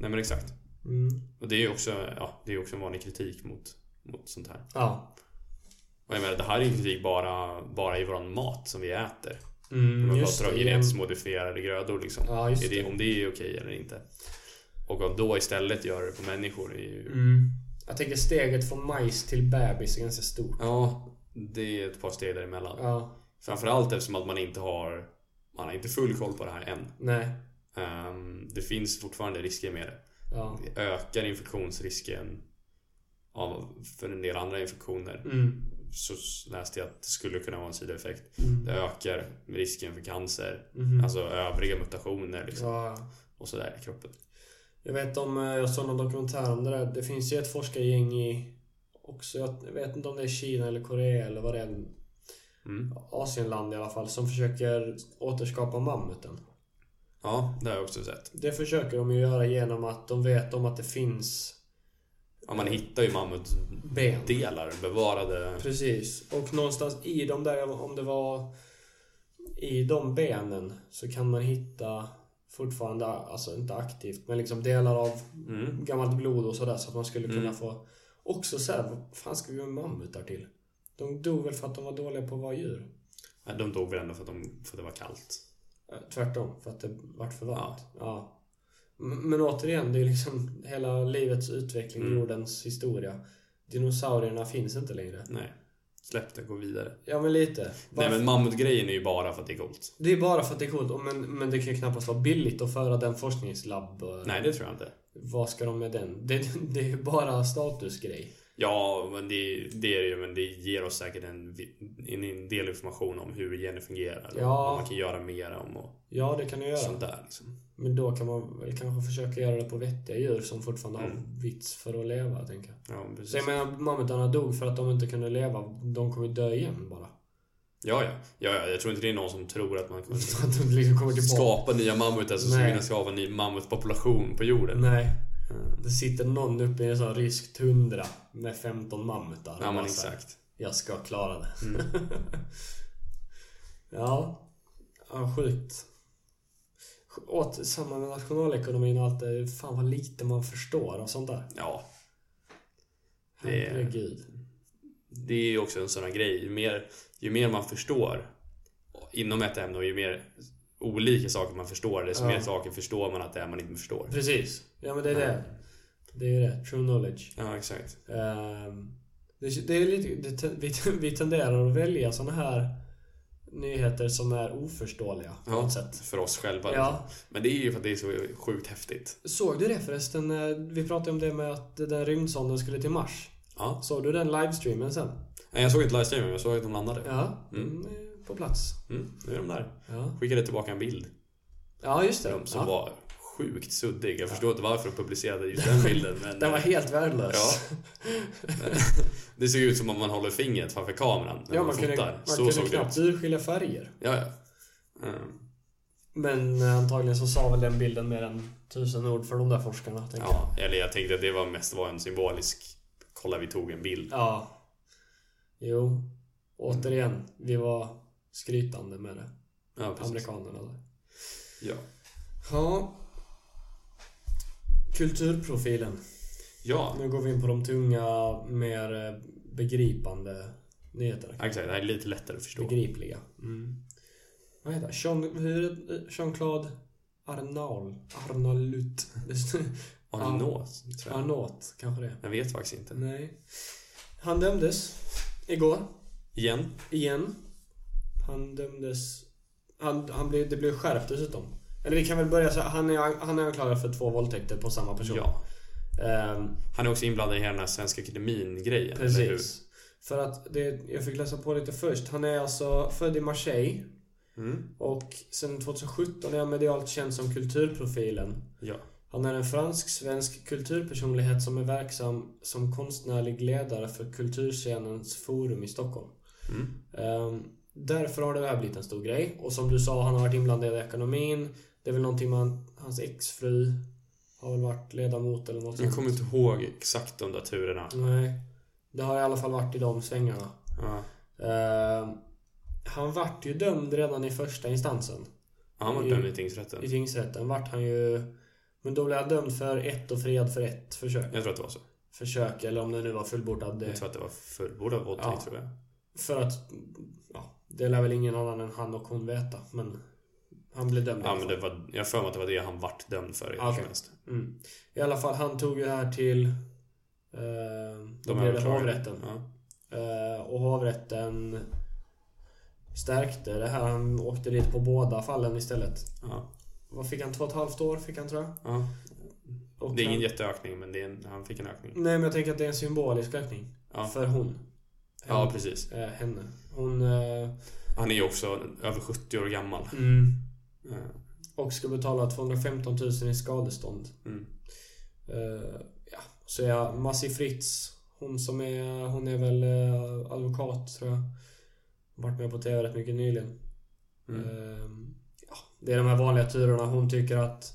Speaker 1: nej men exakt.
Speaker 2: Mm.
Speaker 1: Och det är ju också, ja, det är ju också en vanlig kritik mot, mot sånt här.
Speaker 2: Ja.
Speaker 1: Och jag menar, det här är ju kritik bara, bara i våran mat som vi äter. Om
Speaker 2: Mm,
Speaker 1: man
Speaker 2: just
Speaker 1: pratar om
Speaker 2: det.
Speaker 1: genetiskt modifierade grödor liksom.
Speaker 2: Ja, just
Speaker 1: är det,
Speaker 2: det.
Speaker 1: Om det är okej eller inte. Och att då istället göra det på människor är ju...
Speaker 2: Mm. Jag tänker steget från majs till bebis är ganska stort.
Speaker 1: Ja, det är ett par steg däremellan.
Speaker 2: Ja,
Speaker 1: Framförallt eftersom att man inte har... Man har inte full koll på det här än.
Speaker 2: nej.
Speaker 1: Ehm, det finns fortfarande risker med det.
Speaker 2: Ja.
Speaker 1: Det ökar infektionsrisken av, för en del andra infektioner.
Speaker 2: Mm.
Speaker 1: Så s- läste jag att det skulle kunna vara en sidoeffekt.
Speaker 2: Mm.
Speaker 1: Det ökar risken för cancer,
Speaker 2: Mhm.
Speaker 1: alltså övriga mutationer liksom,
Speaker 2: Ja, ja.
Speaker 1: och sådär i kroppen.
Speaker 2: jag vet om, eh, jag såg någon dokumentär om det där. Det finns ju ett forskargäng i, också, jag vet inte om det är Kina eller Korea eller vad det är.
Speaker 1: Mm.
Speaker 2: Asienland i alla fall, som försöker återskapa mammuten.
Speaker 1: Ja, det har jag också sett.
Speaker 2: Det försöker de ju göra genom att de vet om att det finns
Speaker 1: Ja, man hittar ju mammutdelar,
Speaker 2: ben.
Speaker 1: bevarade.
Speaker 2: Precis. Och någonstans i de där, om det var i de benen, så kan man hitta fortfarande, alltså inte aktivt, men liksom delar av
Speaker 1: Mm.
Speaker 2: gammalt blod och sådär så att man skulle kunna
Speaker 1: Mm.
Speaker 2: få också så här, vad fan ska vi göra mammutar till? De dog väl för att de var dåliga på att vara djur?
Speaker 1: Ja, De dog väl ändå för att, de, för att det var kallt.
Speaker 2: Eh, Tvärtom, för att det vart för varmt. Ja. M- Men återigen, det är liksom hela livets utveckling,
Speaker 1: Mm.
Speaker 2: jordens historia. Dinosaurierna finns inte längre.
Speaker 1: Nej. Släpp det, gå vidare.
Speaker 2: Ja, men lite.
Speaker 1: Nej
Speaker 2: Varför-
Speaker 1: men mammutgrejen är ju bara för att det är coolt.
Speaker 2: Det är bara för att det är coolt, och men, men det kan ju knappast vara billigt att föra den forskningslabb... eh,
Speaker 1: Nej, det tror jag inte.
Speaker 2: Vad ska de med den? Det, det är ju bara statusgrej.
Speaker 1: Ja, men det, det är det ju. Men det ger oss säkert en, vi- en, en del information om hur gener fungerar. och
Speaker 2: Ja.
Speaker 1: Vad man kan göra mer om och
Speaker 2: Ja, det kan du göra.
Speaker 1: sånt där. Liksom.
Speaker 2: Men då kan man väl kanske försöka göra det på vettiga djur som fortfarande
Speaker 1: Mm.
Speaker 2: har vits för att leva, tänker jag.
Speaker 1: Ja, precis.
Speaker 2: Så jag menar, mammutarna dog för att de inte kunde leva. De kommer ju dö igen bara.
Speaker 1: Ja, ja. ja, ja. Jag tror inte det är någon som tror att man kommer
Speaker 2: Så att de liksom kommer tillbaka.
Speaker 1: skapa nya mammutar som skulle
Speaker 2: Nej.
Speaker 1: kunna skapa en ny mammutpopulation på jorden.
Speaker 2: Nej.
Speaker 1: Mm.
Speaker 2: Det sitter någon uppe i en sån rysk tundra med 15 mammutar.
Speaker 1: Ja, men
Speaker 2: Bara så här,
Speaker 1: exakt.
Speaker 2: Jag ska klara det.
Speaker 1: Mm.
Speaker 2: Ja. ja sjukt. Åt samma med nationalekonomin och allt det. Fan vad lite man förstår och sånt där.
Speaker 1: Ja, Det är-
Speaker 2: Herregud.
Speaker 1: det är ju också en sån här grej. Ju mer, ju mer man förstår inom ett ämne och ju mer olika saker man förstår, desto
Speaker 2: Ja.
Speaker 1: mer saker förstår man att det är man inte förstår.
Speaker 2: Precis. Ja men det är
Speaker 1: Nej.
Speaker 2: det. Det är ju det. True knowledge.
Speaker 1: Ja, exakt.
Speaker 2: Ehm, det, det är lite, det, te- vi, vi tenderar att välja såna här nyheter som är oförståeliga på
Speaker 1: Ja.
Speaker 2: något sätt.
Speaker 1: För oss själva.
Speaker 2: Ja.
Speaker 1: Men det är ju för att det är så sjukt häftigt.
Speaker 2: Såg du det förresten? när Vi pratade om det med att den rymdsonden skulle till Mars.
Speaker 1: Ja.
Speaker 2: Såg du den livestreamen sen?
Speaker 1: Nej, jag såg inte livestreamen, men jag såg att de landade.
Speaker 2: Ja,
Speaker 1: Mm.
Speaker 2: den är på plats.
Speaker 1: Mm, nu är de där.
Speaker 2: Ja,
Speaker 1: Skickade tillbaka en bild
Speaker 2: ja just det.
Speaker 1: till dem som
Speaker 2: ja.
Speaker 1: var sjukt suddig. Jag förstår inte varför de publicerade just den bilden. Men eh,
Speaker 2: Den var helt värdelös.
Speaker 1: Ja. det såg ut som om man håller fingret framför kameran när
Speaker 2: Ja,
Speaker 1: man,
Speaker 2: man kunde,
Speaker 1: fotar.
Speaker 2: man
Speaker 1: så
Speaker 2: kunde
Speaker 1: såg det ut.
Speaker 2: knappt urskilja färger.
Speaker 1: Ja, ja. Mm.
Speaker 2: Men eh, antagligen så sa väl den bilden mer än tusen ord för de där forskarna. tänker jag.
Speaker 1: Ja, eller jag tänkte att det var mest var en symbolisk Kolla vi tog en bild.
Speaker 2: Ja. Jo. Återigen, vi var skrytande med det.
Speaker 1: Ja, precis.
Speaker 2: Amerikanerna där.
Speaker 1: Ja.
Speaker 2: Ja. Kulturprofilen.
Speaker 1: ja,
Speaker 2: Nu går vi in på de tunga, mer eh, begripande nyheterna.
Speaker 1: exakt. Det här är lite lättare att förstå.
Speaker 2: Begripliga. Mm. Vad heter han? Jean, hur är det? Jean-Claude Arnault. Arnault.
Speaker 1: Arnaud, tror jag.
Speaker 2: Arnault, kanske det.
Speaker 1: Jag vet faktiskt inte.
Speaker 2: Nej. Han dömdes igår.
Speaker 1: Igen?
Speaker 2: igen. Han dömdes... Han, han blev, det blev skärpt dessutom. Eller vi kan väl börja så här, han är, han är anklagad för två våldtäkter på samma person.
Speaker 1: Ja.
Speaker 2: Ehm,
Speaker 1: Han är också inblandad i hela den här Svenska Akademin-grejen. eller hur?
Speaker 2: precis. För att det, jag fick läsa på lite först. Han är alltså född i Marseille
Speaker 1: Mm.
Speaker 2: och sedan 2017 är han medialt känd som kulturprofilen.
Speaker 1: Ja.
Speaker 2: Han är en fransk-svensk kulturpersonlighet som är verksam som konstnärlig ledare för kulturscenens forum i Stockholm.
Speaker 1: Mm.
Speaker 2: Ehm, därför har det här blivit en stor grej. Och som du sa, han har varit inblandad i ekonomin. Det är väl någonting man, hans exfru har väl varit ledamot eller något
Speaker 1: Jag
Speaker 2: sånt.
Speaker 1: kommer inte ihåg exakt de där turerna.
Speaker 2: Nej. Det har i alla fall varit i de svängarna.
Speaker 1: Ja.
Speaker 2: Ehm, han vart ju dömd redan i första instansen.
Speaker 1: Han var
Speaker 2: I-
Speaker 1: dömd i
Speaker 2: I
Speaker 1: tingsrätten.
Speaker 2: tingsrätten vart han ju... Men då blev han dömd för ett och friad för ett försök.
Speaker 1: Jag tror att det var så.
Speaker 2: Försök, eller om det nu var fullbordad.
Speaker 1: Jag
Speaker 2: Det,
Speaker 1: tror att det var fullbordad våldtäkt,
Speaker 2: Ja.
Speaker 1: tror jag.
Speaker 2: för att... Ja, det lär väl ingen annan än han och hon veta. Men han blev dömd i
Speaker 1: Ja,
Speaker 2: alla
Speaker 1: men
Speaker 2: fall.
Speaker 1: det var, jag har för mig att det var det han vart dömd för.
Speaker 2: Ah, okej.
Speaker 1: Okay.
Speaker 2: Mm. I alla fall, han tog ju det här till... Eh, då blev det hovrätten.
Speaker 1: Ja.
Speaker 2: Eh, och hovrätten stärkte det här. Han åkte dit på båda fallen istället.
Speaker 1: Ja.
Speaker 2: Vad fick han? Två och ett halvt år fick han tror jag.
Speaker 1: Ja.
Speaker 2: Och
Speaker 1: Det är ingen
Speaker 2: han,
Speaker 1: jätteökning, men det är en, han fick en ökning.
Speaker 2: Nej men jag tänker att det är en symbolisk ökning.
Speaker 1: Ja.
Speaker 2: För hon.
Speaker 1: Ja, precis.
Speaker 2: Eh, henne. Hon... Eh,
Speaker 1: Han är ju också över 70 år gammal. Eh,
Speaker 2: Mm. och ska betala 215 000 i skadestånd.
Speaker 1: Mm.
Speaker 2: Eh, ja. Så ja, Massi Fritz. Hon som är, hon är väl eh, advokat tror jag. Varit med på TV rätt mycket nyligen.
Speaker 1: Mm.
Speaker 2: Eh, ja, det är de här vanliga turerna. Hon tycker att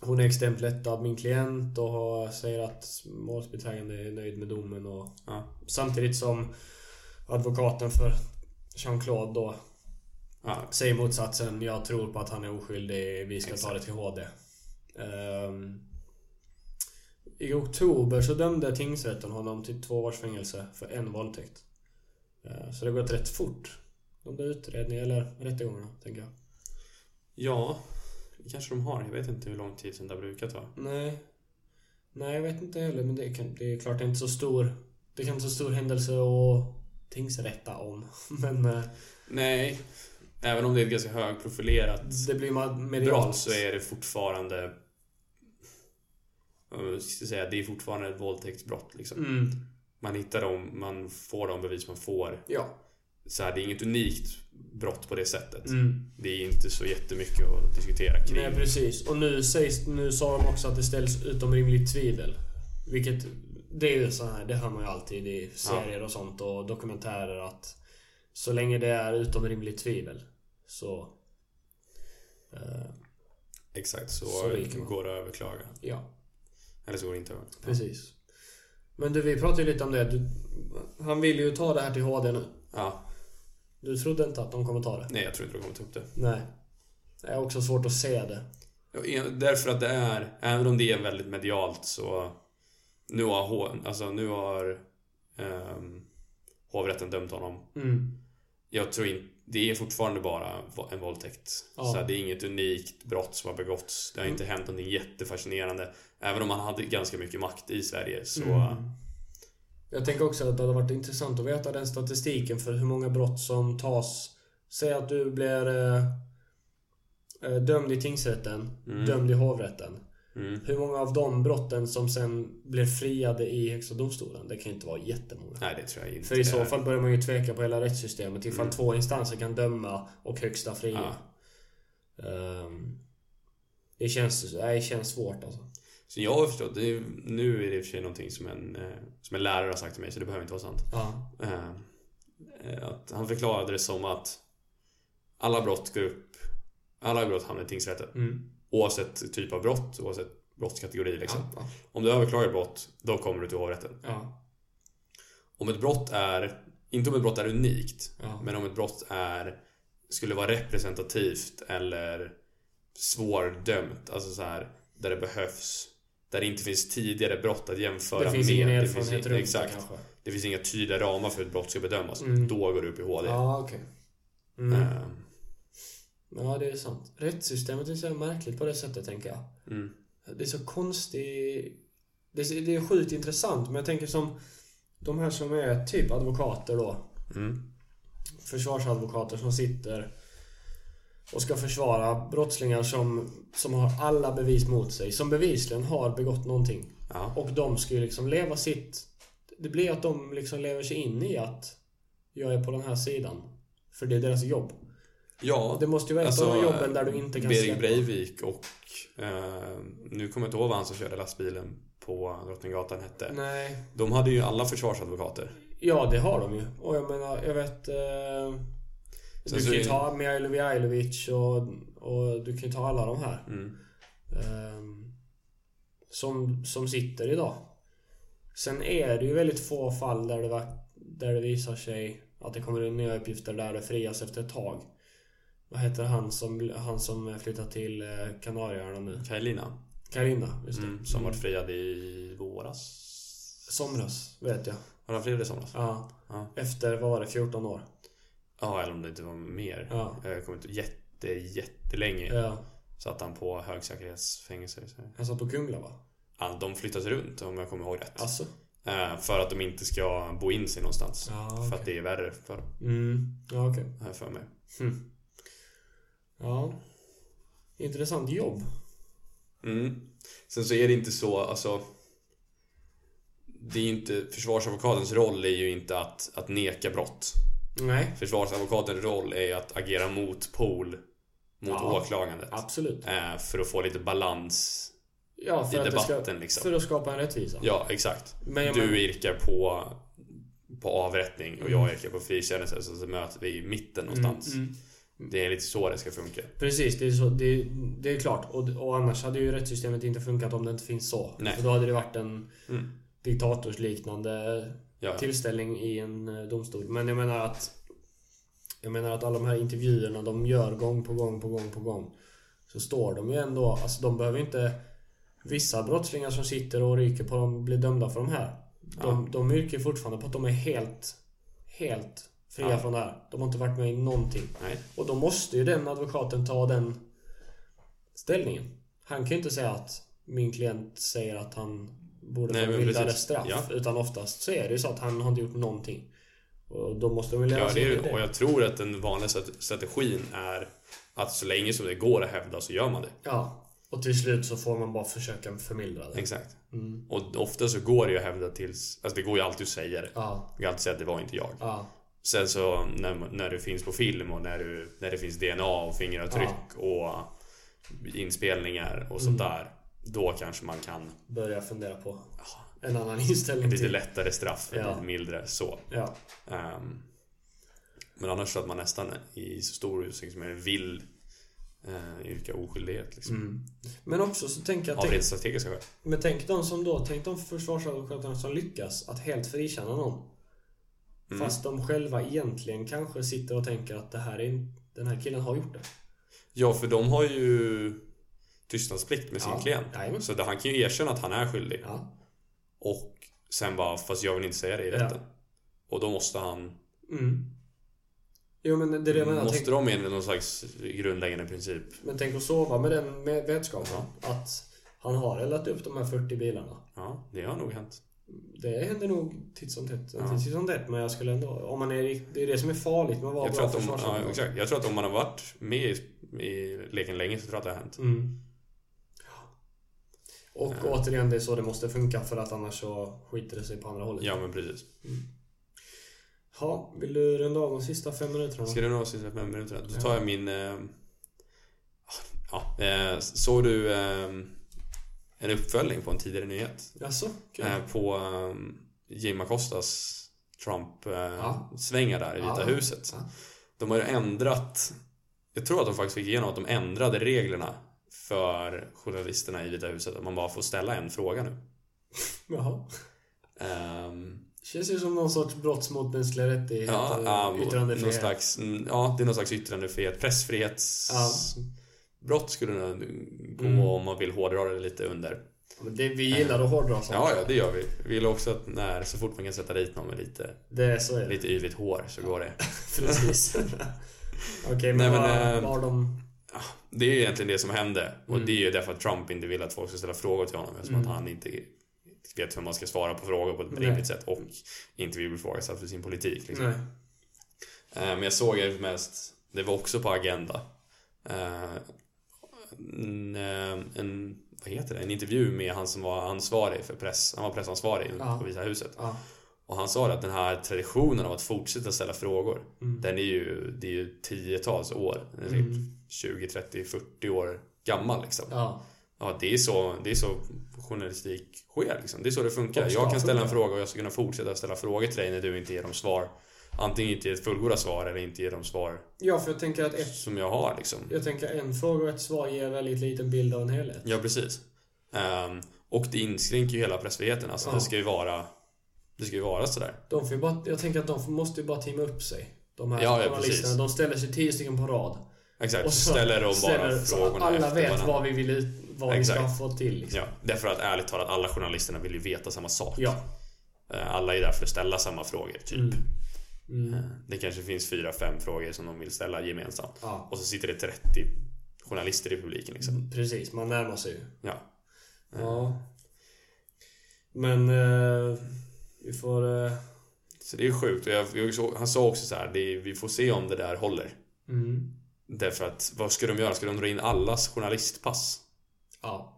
Speaker 2: hon är extremt lättad av min klient och har- säger att målsbeträdande är nöjd med domen. Och,
Speaker 1: Ja.
Speaker 2: Samtidigt som advokaten för Jean-Claude då
Speaker 1: Ja.
Speaker 2: Säg motsatsen. Jag tror på att han är oskyldig. Vi ska ta det till HD. Ehm, I oktober så dömde tingsrätten honom till två års fängelse för en våldtäkt. Eh, så det har gått rätt fort. De där utredningarna, eller rättegångarna, tänker jag.
Speaker 1: ja, det kanske de har. Jag vet inte hur lång tid som det har brukat ta.
Speaker 2: Nej. Nej, jag vet inte heller. Men det, kan, det är klart det är inte så stor... Det kan inte så stor händelse att tingsrätta om. Men eh,
Speaker 1: Nej, även om det är ett ganska högprofilerat
Speaker 2: det blir ma- medialt.
Speaker 1: brott så är det fortfarande jag skulle säga, det är fortfarande ett våldtäktsbrott liksom.
Speaker 2: Mm.
Speaker 1: Man hittar dem, man får de bevis man får.
Speaker 2: Ja.
Speaker 1: Så här, det är inget unikt brott på det sättet.
Speaker 2: Mm.
Speaker 1: Det är inte så jättemycket att diskutera kring.
Speaker 2: Nej, precis. Och nu, sägs, nu sa de också att det ställs utom rimligt tvivel. Vilket, det är ju så här, det hör man ju alltid i serier och sånt och dokumentärer att så länge det är utom rimligt tvivel så... eh,
Speaker 1: Exakt, så,
Speaker 2: Så viker man.
Speaker 1: går det att överklaga.
Speaker 2: ja.
Speaker 1: Eller så går det inte att överklaga.
Speaker 2: Precis. Men du, vi pratade ju lite om det. Du, han ville ju ta det här till HD nu.
Speaker 1: Ja,
Speaker 2: Du trodde inte att de kommer ta det?
Speaker 1: nej jag tror inte de kommer ta upp det.
Speaker 2: Nej. Det är också svårt att se det.
Speaker 1: Ja, en- Därför att det är, även om det är väldigt medialt så Nu har, H- alltså, nu har ehm, hovrätten dömt honom.
Speaker 2: Mm.
Speaker 1: Jag tror inte det är fortfarande bara en våldtäkt.
Speaker 2: Ja. Mm.
Speaker 1: Så det är inget unikt brott som har begåtts. Det har inte hänt någonting jättefascinerande. Även om han hade ganska mycket makt i Sverige så...
Speaker 2: Mm. Jag tänker också att det hade varit intressant att veta den statistiken för hur många brott som tas. Säg att du blir eh, eh, dömd i tingsrätten,
Speaker 1: Mm.
Speaker 2: dömd i hovrätten.
Speaker 1: Mm.
Speaker 2: Hur många av de brotten som sen blir friade i Högsta domstolen? Det kan ju inte vara jättemånga.
Speaker 1: Nej, Mm. det tror jag inte.
Speaker 2: För i så fall börjar man ju tveka på hela rättssystemet ifall två instanser kan döma och högsta fria.
Speaker 1: Ja.
Speaker 2: Ehm, det, känns, nej, det känns svårt alltså.
Speaker 1: Så jag har förstått, det är, nu är det i och för sig någonting som en, eh, som en lärare har sagt till mig så det behöver inte vara sant.
Speaker 2: Ja.
Speaker 1: Eh, eh, Att han förklarade det som att alla brott går upp, alla brott hamnar i tingsrätten.
Speaker 2: Mm.
Speaker 1: Oavsett typ av brott, oavsett brottskategori liksom.
Speaker 2: Ja. Ja.
Speaker 1: Om du överklagar brott, då kommer du till hovrätten.
Speaker 2: Ja.
Speaker 1: Om ett brott är, inte om ett brott är unikt,
Speaker 2: Ja.
Speaker 1: men om ett brott är, skulle vara representativt eller svårdömt, alltså så här där det behövs, där det inte finns tidigare brott att jämföra
Speaker 2: Det finns
Speaker 1: med.
Speaker 2: ingen
Speaker 1: det
Speaker 2: erfarenhet
Speaker 1: finns,
Speaker 2: runt
Speaker 1: inte-
Speaker 2: det
Speaker 1: Exakt.
Speaker 2: kanske.
Speaker 1: Det finns inga tydliga ramar för hur ett brott ska bedömas.
Speaker 2: Mm.
Speaker 1: Då går det upp i HD.
Speaker 2: Ja, okej. Mm.
Speaker 1: Ehm,
Speaker 2: Ja, det är sant. Rättssystemet är så märkligt på det sättet tänker jag.
Speaker 1: Mm.
Speaker 2: Det är så konstigt. Det är, det är sjukt intressant, men jag tänker som de här som är typ advokater då.
Speaker 1: Mm.
Speaker 2: försvarsadvokater som sitter och ska försvara brottslingar som, som har alla bevis mot sig. Som bevisligen har begått någonting.
Speaker 1: Ja.
Speaker 2: Och de ska ju liksom leva sitt... Det blir att de liksom lever sig in i att jag är på den här sidan. För det är deras jobb.
Speaker 1: ja,
Speaker 2: Det måste ju vara ett av de jobben där du inte kan
Speaker 1: Alltså, Berit
Speaker 2: släppa.
Speaker 1: Breivik och eh, nu kommer jag inte ihåg vad han som körde lastbilen på Drottninggatan hette.
Speaker 2: Nej.
Speaker 1: De hade ju alla försvarsadvokater.
Speaker 2: Ja, det har de ju. Och jag menar, jag vet... Eh,
Speaker 1: Sen
Speaker 2: du
Speaker 1: så
Speaker 2: kan ju
Speaker 1: är-
Speaker 2: ta Mijailovic Ajlovic och, och du kan ju ta alla de här.
Speaker 1: Mm.
Speaker 2: Ehm, som, som sitter idag. Sen är det ju väldigt få fall där det, verk- där det visar sig att det kommer in nya uppgifter där det frias efter ett tag. Vad heter han som, han som flyttat till eh, Kanarieöarna nu?
Speaker 1: Carolina,
Speaker 2: Karina, just det.
Speaker 1: mm, som varit friad i våras.
Speaker 2: Somras, vet jag.
Speaker 1: Var han friad i somras?
Speaker 2: Ja.
Speaker 1: Ja.
Speaker 2: Efter, vad var det, 14 år?
Speaker 1: Ja, eller om det inte var mer. Eh,
Speaker 2: Ja.
Speaker 1: Jag kommer inte jätte, jättelänge
Speaker 2: Ja.
Speaker 1: satt han på högsäkerhetsfängelse. Så.
Speaker 2: Han satt på Kungla va?
Speaker 1: Ja, de flyttas runt om jag kommer ihåg rätt.
Speaker 2: Alltså.
Speaker 1: Eh, För att de inte ska bo in sig någonstans.
Speaker 2: Ja,
Speaker 1: För att det är värre för dem,
Speaker 2: Mm, ja okej.
Speaker 1: har jag för mig.
Speaker 2: Hm. Ja. Intressant jobb.
Speaker 1: Mm. Sen så är det inte så, alltså... Det är ju inte, försvarsadvokatens roll är ju inte att, att neka brott.
Speaker 2: Nej.
Speaker 1: Försvarsadvokatens roll är ju att agera motpol mot
Speaker 2: Ja.
Speaker 1: åklagandet.
Speaker 2: Absolut.
Speaker 1: Eh, För att få lite balans
Speaker 2: Ja, för
Speaker 1: i
Speaker 2: att
Speaker 1: debatten
Speaker 2: det ska,
Speaker 1: liksom.
Speaker 2: För att skapa en rättvisa.
Speaker 1: Ja, exakt.
Speaker 2: Men jag men-
Speaker 1: Du yrkar på, på avrättning och jag yrkar på frikännelse. Så, så möter vi i mitten någonstans.
Speaker 2: Mm, mm.
Speaker 1: Det är lite så det ska funka.
Speaker 2: Precis, det är, så, det, det är klart. Och, och annars hade ju rättssystemet inte funkat om det inte finns så.
Speaker 1: Nej.
Speaker 2: För då hade det varit en
Speaker 1: Mm.
Speaker 2: diktatorsliknande
Speaker 1: Ja, ja.
Speaker 2: tillställning i en eh, domstol. Men jag menar att jag menar att alla de här intervjuerna de gör gång på gång på gång på gång. Så står de ju ändå, alltså de behöver inte Vissa brottslingar som sitter och ryker på dem blir dömda för de här. De, de yrkar fortfarande på att de är helt, helt fria
Speaker 1: Ja.
Speaker 2: från det här. De har inte varit med i någonting.
Speaker 1: Nej.
Speaker 2: Och då måste ju den advokaten ta den ställningen. Han kan ju inte säga att min klient säger att han borde
Speaker 1: Nej,
Speaker 2: få
Speaker 1: men
Speaker 2: mildare
Speaker 1: precis.
Speaker 2: straff.
Speaker 1: Ja.
Speaker 2: Utan oftast så är det ju så att han har inte gjort någonting. Och då måste de väl
Speaker 1: Ja,
Speaker 2: lära
Speaker 1: det
Speaker 2: sig
Speaker 1: är,
Speaker 2: alltså, det.
Speaker 1: och jag tror att den vanliga strate- strategin är att så länge som det går att hävda så gör man det.
Speaker 2: Ja, Och till slut så får man bara försöka förmildra det.
Speaker 1: Exakt.
Speaker 2: Mm.
Speaker 1: Och ofta så går det ju att hävda tills... Alltså det går ju alltid att säga det.
Speaker 2: Ja,
Speaker 1: Man kan alltid säga att det var inte jag.
Speaker 2: ja,
Speaker 1: Sen så när, när du finns på film och när, du, när det finns DNA och fingeravtryck och inspelningar och
Speaker 2: Mm.
Speaker 1: sånt där. Då kanske man kan
Speaker 2: börja fundera på en annan inställning
Speaker 1: lite
Speaker 2: till.
Speaker 1: lättare straff,
Speaker 2: Ja.
Speaker 1: lite mildare så.
Speaker 2: Ja,
Speaker 1: Ehm, men annars så att man nästan i så stor utsträckning som möjligt vill uh, yrka oskyldighet. Liksom.
Speaker 2: Mm. men också så tänker jag...
Speaker 1: Av
Speaker 2: tänk-
Speaker 1: rent strategiska skäl.
Speaker 2: Men tänk de som då, tänk de försvarsadvokaterna som lyckas att helt frikänna någon.
Speaker 1: Mm.
Speaker 2: Fast de själva egentligen kanske sitter och tänker att det här är, den här killen har gjort det.
Speaker 1: Ja, för de har ju tystnadsplikt med sin
Speaker 2: Ja,
Speaker 1: klient.
Speaker 2: jajamän.
Speaker 1: Så han kan ju erkänna att han är skyldig.
Speaker 2: Ja.
Speaker 1: Och sen bara, fast jag vill inte säga det i
Speaker 2: Ja.
Speaker 1: rätten. Och då måste han...
Speaker 2: Mm. Jo men det är det jag menar.
Speaker 1: Mm, måste
Speaker 2: Tänk,
Speaker 1: de enligt någon slags grundläggande princip?
Speaker 2: men tänk att sova med den med vetskapen. Att han har eldat upp de här 40 bilarna.
Speaker 1: Ja, det har nog hänt.
Speaker 2: Det händer nog titt som tätt.
Speaker 1: Ja.
Speaker 2: Titt som tätt men jag skulle ändå... Om man är, rikt- det är det som är farligt med att vara
Speaker 1: Jag tror,
Speaker 2: bra
Speaker 1: att om, ja,
Speaker 2: försvarsadvokat.
Speaker 1: exakt. jag tror att om man har varit med i, i leken länge så tror jag att det har hänt.
Speaker 2: Mm. Och
Speaker 1: Eh.
Speaker 2: återigen, det är så det måste funka för att annars så skiter det sig på andra hållet.
Speaker 1: Ja, men precis.
Speaker 2: Ha, vill du runda av de sista fem minuterna?
Speaker 1: Ska du nå sista fem minuterna? Då tar jag min... Eh, ja, eh, såg du eh, en uppföljning på en tidigare nyhet?
Speaker 2: Jaså? Kul.
Speaker 1: Eh, på eh, Jim Acostas
Speaker 2: Ja.
Speaker 1: Trump-svängar där i Vita
Speaker 2: Ja.
Speaker 1: huset.
Speaker 2: Ja.
Speaker 1: De har ju ändrat... Jag tror att de faktiskt fick igenom att de ändrade reglerna för journalisterna i Vita huset. Att man bara får ställa en fråga nu.
Speaker 2: Jaha.
Speaker 1: Ehm,
Speaker 2: Känns ju som någon sorts brott mot mänskliga rättigheter.
Speaker 1: Ja, ja
Speaker 2: och
Speaker 1: någon
Speaker 2: eh, yttrandefrihet.
Speaker 1: slags, mm, ja, det är någon slags yttrandefrihet.
Speaker 2: Ja.
Speaker 1: Pressfrihetsbrott skulle nog gå
Speaker 2: Mm.
Speaker 1: om man vill hårdra det lite under.
Speaker 2: Ja, men det, vi gillar att hårdra sånt.
Speaker 1: Eh. Ja, ja, det gör vi. Vi vill också att när, så fort man kan sätta dit någon med lite,
Speaker 2: Det är så är det.
Speaker 1: lite yvigt hår så går det.
Speaker 2: Precis. Okej,
Speaker 1: Nej,
Speaker 2: men,
Speaker 1: men,
Speaker 2: vad,
Speaker 1: eh,
Speaker 2: vad har de...
Speaker 1: Det är ju egentligen det som hände. Och det är ju därför att Trump inte vill att folk ska ställa frågor till honom eftersom att han inte vet hur man ska svara på frågor på ett
Speaker 2: Nej.
Speaker 1: rimligt sätt och inte vill bli ifrågasatt för sin politik. Liksom.
Speaker 2: Nej.
Speaker 1: Eh, Men jag såg det mest, det var också på Agenda. Eh, En, eh, en, vad heter det? en intervju med han som var ansvarig för press, han var pressansvarig
Speaker 2: Ja.
Speaker 1: på Vita huset.
Speaker 2: Ja.
Speaker 1: Och han sa det att den här traditionen av att fortsätta ställa frågor,
Speaker 2: Mm.
Speaker 1: den är ju, det är ju tiotals år. Den är säkert 20, 30, 40 år gammal liksom.
Speaker 2: Ja.
Speaker 1: Ja, det är så, det är så journalistik sker. Liksom. Det är så det funkar.
Speaker 2: Och ska
Speaker 1: Jag kan ställa en
Speaker 2: funka.
Speaker 1: fråga och jag ska kunna fortsätta ställa frågor till dig när du inte ger dem svar. Antingen inte ger ett fullgoda svar eller inte ger de svar
Speaker 2: ja, för jag tänker att ett,
Speaker 1: som jag har. Liksom.
Speaker 2: jag tänker en fråga och ett svar ger en väldigt liten bild av en helhet.
Speaker 1: Ja, precis. Ehm, och det inskränker ju hela pressfriheten. Alltså,
Speaker 2: Ja.
Speaker 1: det, ska ju vara, det ska ju vara sådär.
Speaker 2: De får ju bara, jag tänker att de får- måste ju bara teama upp sig. De här
Speaker 1: Ja, ja,
Speaker 2: journalisterna.
Speaker 1: precis.
Speaker 2: de ställer sig tio stycken på rad.
Speaker 1: Exakt, så ställer de bara
Speaker 2: så
Speaker 1: frågorna
Speaker 2: Alla
Speaker 1: efter
Speaker 2: vet
Speaker 1: varandra.
Speaker 2: vad vi vill ut, vad vi
Speaker 1: Exakt.
Speaker 2: ska få till. Liksom.
Speaker 1: Ja, därför att ärligt talat, alla journalisterna vill ju veta samma sak.
Speaker 2: Ja.
Speaker 1: Eh, Alla är där för att ställa samma frågor, typ. Eh,
Speaker 2: Mm. Mm.
Speaker 1: Det kanske finns fyra, fem frågor som de vill ställa gemensamt.
Speaker 2: Ja.
Speaker 1: Och så sitter det 30 journalister i publiken liksom. Eh,
Speaker 2: Precis, man närmar sig ju.
Speaker 1: Ja.
Speaker 2: Mm. Ja. Men eh, vi får... Eh,
Speaker 1: Så det är sjukt. Och jag, jag, såg- han sa också så här, det är, vi får se om det där håller.
Speaker 2: mm.
Speaker 1: Därför att vad ska de göra? Ska de dra in allas journalistpass?
Speaker 2: Ja.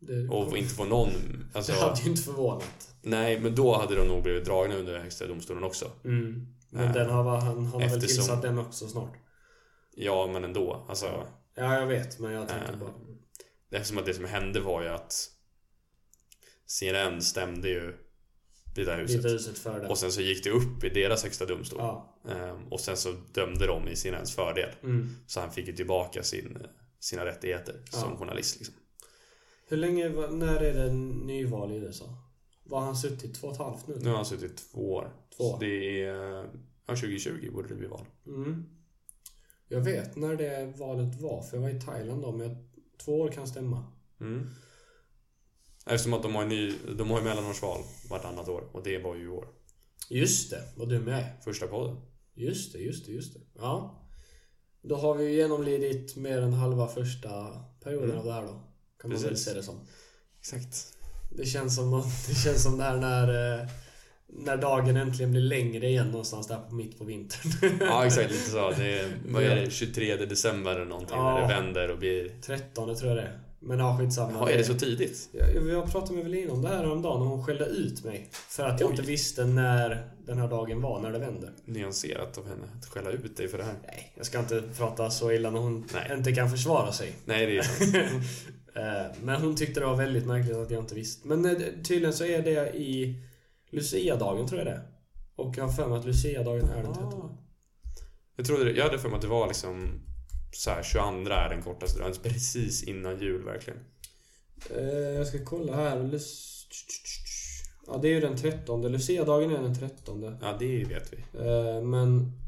Speaker 2: Det,
Speaker 1: Och inte få någon... Alltså,
Speaker 2: det hade ju inte förvånat.
Speaker 1: nej, men då hade de nog blivit dragna under Högsta domstolen också.
Speaker 2: Mm. Men
Speaker 1: Nej.
Speaker 2: den har, va- han, han har väl
Speaker 1: Eftersom-
Speaker 2: tillsatt den också snart.
Speaker 1: Ja, men ändå. Alltså,
Speaker 2: Ja, jag vet. Men jag tänker
Speaker 1: Äh.
Speaker 2: bara...
Speaker 1: eftersom att det som hände var ju att CNN stämde ju Vita huset.
Speaker 2: Vita huset för det.
Speaker 1: Och sen så gick det upp i deras högsta domstol.
Speaker 2: Ja.
Speaker 1: Ehm, Och sen så dömde de i CNNs fördel.
Speaker 2: Mm.
Speaker 1: Så han fick ju tillbaka sin, sina rättigheter som journalist. Liksom.
Speaker 2: Hur länge, var- när är det nyval i USA? Var han suttit två och ett halvt nu?
Speaker 1: Nu har han suttit två år.
Speaker 2: Två.
Speaker 1: Så det är... Ja, 2020 borde det bli val.
Speaker 2: Mm. Jag vet när det valet var, för jag var i Thailand då, men jag, två år kan stämma.
Speaker 1: Mm. Eftersom att de har, en ny, de har ju mellanårsval vartannat år. Och det var ju i år.
Speaker 2: Just det, vad dum jag är.
Speaker 1: Första podden.
Speaker 2: Just det, just det, just det. Ja. Då har vi ju genomlidit mer än halva första perioden av det här då. Kan man väl
Speaker 1: Precis.
Speaker 2: se det som.
Speaker 1: Exakt.
Speaker 2: Det känns som, att- det, känns som det här när, eh, när dagen äntligen blir längre igen någonstans där på mitt på vintern.
Speaker 1: Ja, exakt. Lite så. Det är, vad är det? 23 december eller någonting. När
Speaker 2: Ja.
Speaker 1: det vänder och blir...
Speaker 2: 13 tror jag det är. Men ja, skitsamma.
Speaker 1: Jaha, är det så tidigt?
Speaker 2: Jag, jag- jag pratade med Evelina om det här häromdagen och hon skällde ut mig. För att jag
Speaker 1: Oj.
Speaker 2: inte visste när den här dagen var, när det vänder.
Speaker 1: Nyanserat av henne att skälla ut dig för det här.
Speaker 2: Nej, jag ska inte prata så illa när hon
Speaker 1: Nej.
Speaker 2: inte kan försvara sig.
Speaker 1: Nej, det är
Speaker 2: Eh, Men hon tyckte det var väldigt märkligt att jag inte visste. Men eh, tydligen så är det i Lucia-dagen tror jag det är. Och jag har för mig att Lucia-dagen är den 13.
Speaker 1: Jag trodde det, jag hade för mig att det var liksom så här, 22 är den kortaste dagen. Precis innan jul verkligen.
Speaker 2: Eh, Jag ska kolla här. Lus- Ja, det är ju den 13. Lucia-dagen är den 13.
Speaker 1: Ja, det vet vi.
Speaker 2: Eh, Men,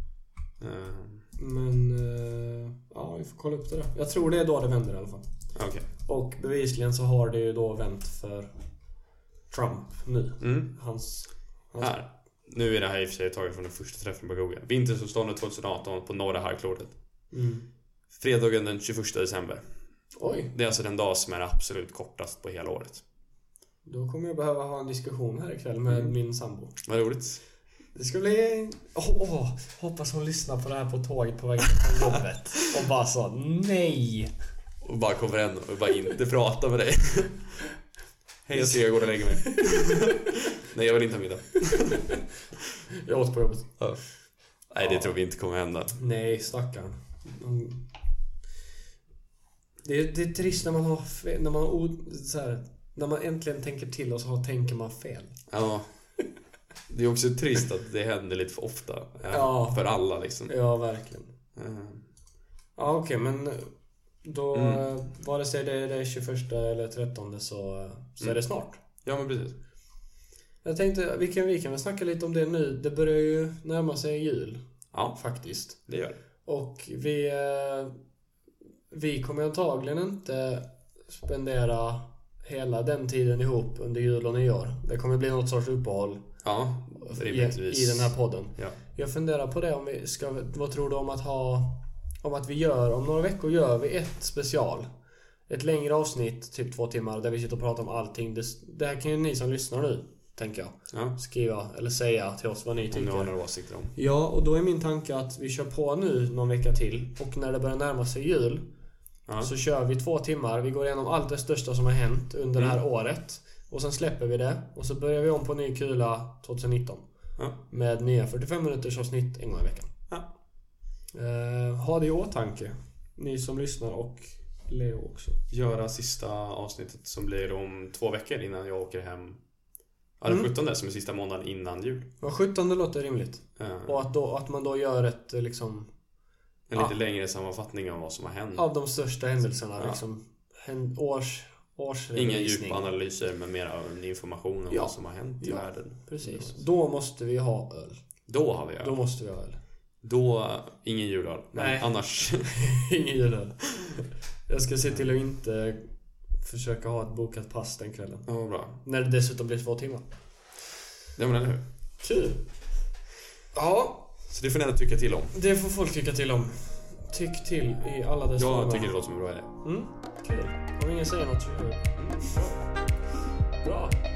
Speaker 1: Eh,
Speaker 2: men... eh, Ja, vi får kolla upp det där. Jag tror det är då det vänder i alla fall.
Speaker 1: Okej.
Speaker 2: Och bevisligen så har det ju då vänt för Trump nu.
Speaker 1: Mm.
Speaker 2: Hans... hans
Speaker 1: Här. Nu är det här i och för sig taget från den första träffen på Google. Vintersolståndet 2018 på norra halvklotet.
Speaker 2: Mm.
Speaker 1: Fredagen den 21 december.
Speaker 2: Oj,
Speaker 1: Det är alltså den dag som är absolut kortast på hela året.
Speaker 2: då kommer jag behöva ha en diskussion här ikväll med
Speaker 1: Mm.
Speaker 2: min sambo.
Speaker 1: Vad roligt.
Speaker 2: Det ska bli... Åh, åh, hoppas hon lyssnar på det här på tåget på vägen till jobbet. Och bara sa nej.
Speaker 1: Och bara kommer en och bara inte prata med dig. Hej, jag ser jag går och lägger mig. Nej, jag vill inte ha middag.
Speaker 2: Jag åt på jobbet.
Speaker 1: Nej, det tror vi inte kommer hända.
Speaker 2: Nej, stackarn. Hon- Det är, det är trist när man har fel, när man har o, så här, När man äntligen tänker till och så har, tänker man fel.
Speaker 1: Ja. Det är också trist att det händer lite för ofta. eh,
Speaker 2: Ja.
Speaker 1: För alla liksom.
Speaker 2: Ja, verkligen.
Speaker 1: Eh,
Speaker 2: Ja, okej, men eh, då...
Speaker 1: Mm.
Speaker 2: Mm. Vare sig det är det 21 eller 13 så, eh, så är
Speaker 1: Mm.
Speaker 2: det snart.
Speaker 1: Ja, men precis.
Speaker 2: Jag tänkte, vi kan, vi kan väl snacka lite om det nu. Det börjar ju närma sig jul,
Speaker 1: Ja,
Speaker 2: faktiskt.
Speaker 1: det gör det.
Speaker 2: Och vi... eh, Vi kommer antagligen inte spendera hela den tiden ihop under jul och nyår. Det kommer bli något sorts uppehåll
Speaker 1: Ja,
Speaker 2: i,
Speaker 1: rimligtvis.
Speaker 2: i den här podden.
Speaker 1: Ja.
Speaker 2: Jag funderar på det om vi ska... Vad tror du om att ha... Om att vi gör... Om några veckor gör vi ett special. Ett längre avsnitt, typ två timmar, där vi sitter och pratar om allting. Det, det här kan ju ni som lyssnar nu, tänker jag,
Speaker 1: ja.
Speaker 2: skriva eller säga till oss vad ni
Speaker 1: Om ni
Speaker 2: tycker.
Speaker 1: har några åsikter om.
Speaker 2: Ja, och då är min tanke att vi kör på nu någon vecka till och när det börjar närma sig jul
Speaker 1: Ja.
Speaker 2: så kör vi två timmar. Vi går igenom allt det största som har hänt
Speaker 1: Mm.
Speaker 2: under det här året och sen släpper vi det och så börjar vi om på ny kula 2019
Speaker 1: Ja.
Speaker 2: med nya 45 minuters avsnitt en gång i veckan.
Speaker 1: Ja.
Speaker 2: Eh, ha det i åtanke, ni som lyssnar och Leo också.
Speaker 1: Göra sista avsnittet som blir om två veckor innan jag åker hem. Ja, den
Speaker 2: Mm.
Speaker 1: 17 som är sista månaden innan jul.
Speaker 2: Ja, 17 låter rimligt.
Speaker 1: Eh,
Speaker 2: Och att, då, att man då gör ett eh, liksom
Speaker 1: Mm. En
Speaker 2: Ja.
Speaker 1: lite längre sammanfattning av vad som har hänt.
Speaker 2: av de största händelserna.
Speaker 1: Ja.
Speaker 2: Liksom, hän- års,
Speaker 1: Inga
Speaker 2: årsredovisning.
Speaker 1: djupa analyser men mer av en information om
Speaker 2: Ja.
Speaker 1: vad som har hänt i
Speaker 2: Ja.
Speaker 1: världen.
Speaker 2: Precis. Då måste vi ha öl.
Speaker 1: Då har vi
Speaker 2: Då
Speaker 1: öl.
Speaker 2: måste vi ha öl.
Speaker 1: Då, ingen julöl. Men
Speaker 2: Nej.
Speaker 1: annars.
Speaker 2: Ingen julöl. Jag ska se till att inte försöka ha ett bokat pass den kvällen.
Speaker 1: Ja, vad bra.
Speaker 2: När det dessutom blir två timmar.
Speaker 1: Ja, men eller hur.
Speaker 2: Kul! Ja,
Speaker 1: Så det får ni ändå tycka till om.
Speaker 2: det får folk tycka till om. Tyck till i alla dess
Speaker 1: Jag
Speaker 2: former.
Speaker 1: tycker det låter som en bra idé.
Speaker 2: Mm, kul. Om ingen säger något så gör vi det. Bra.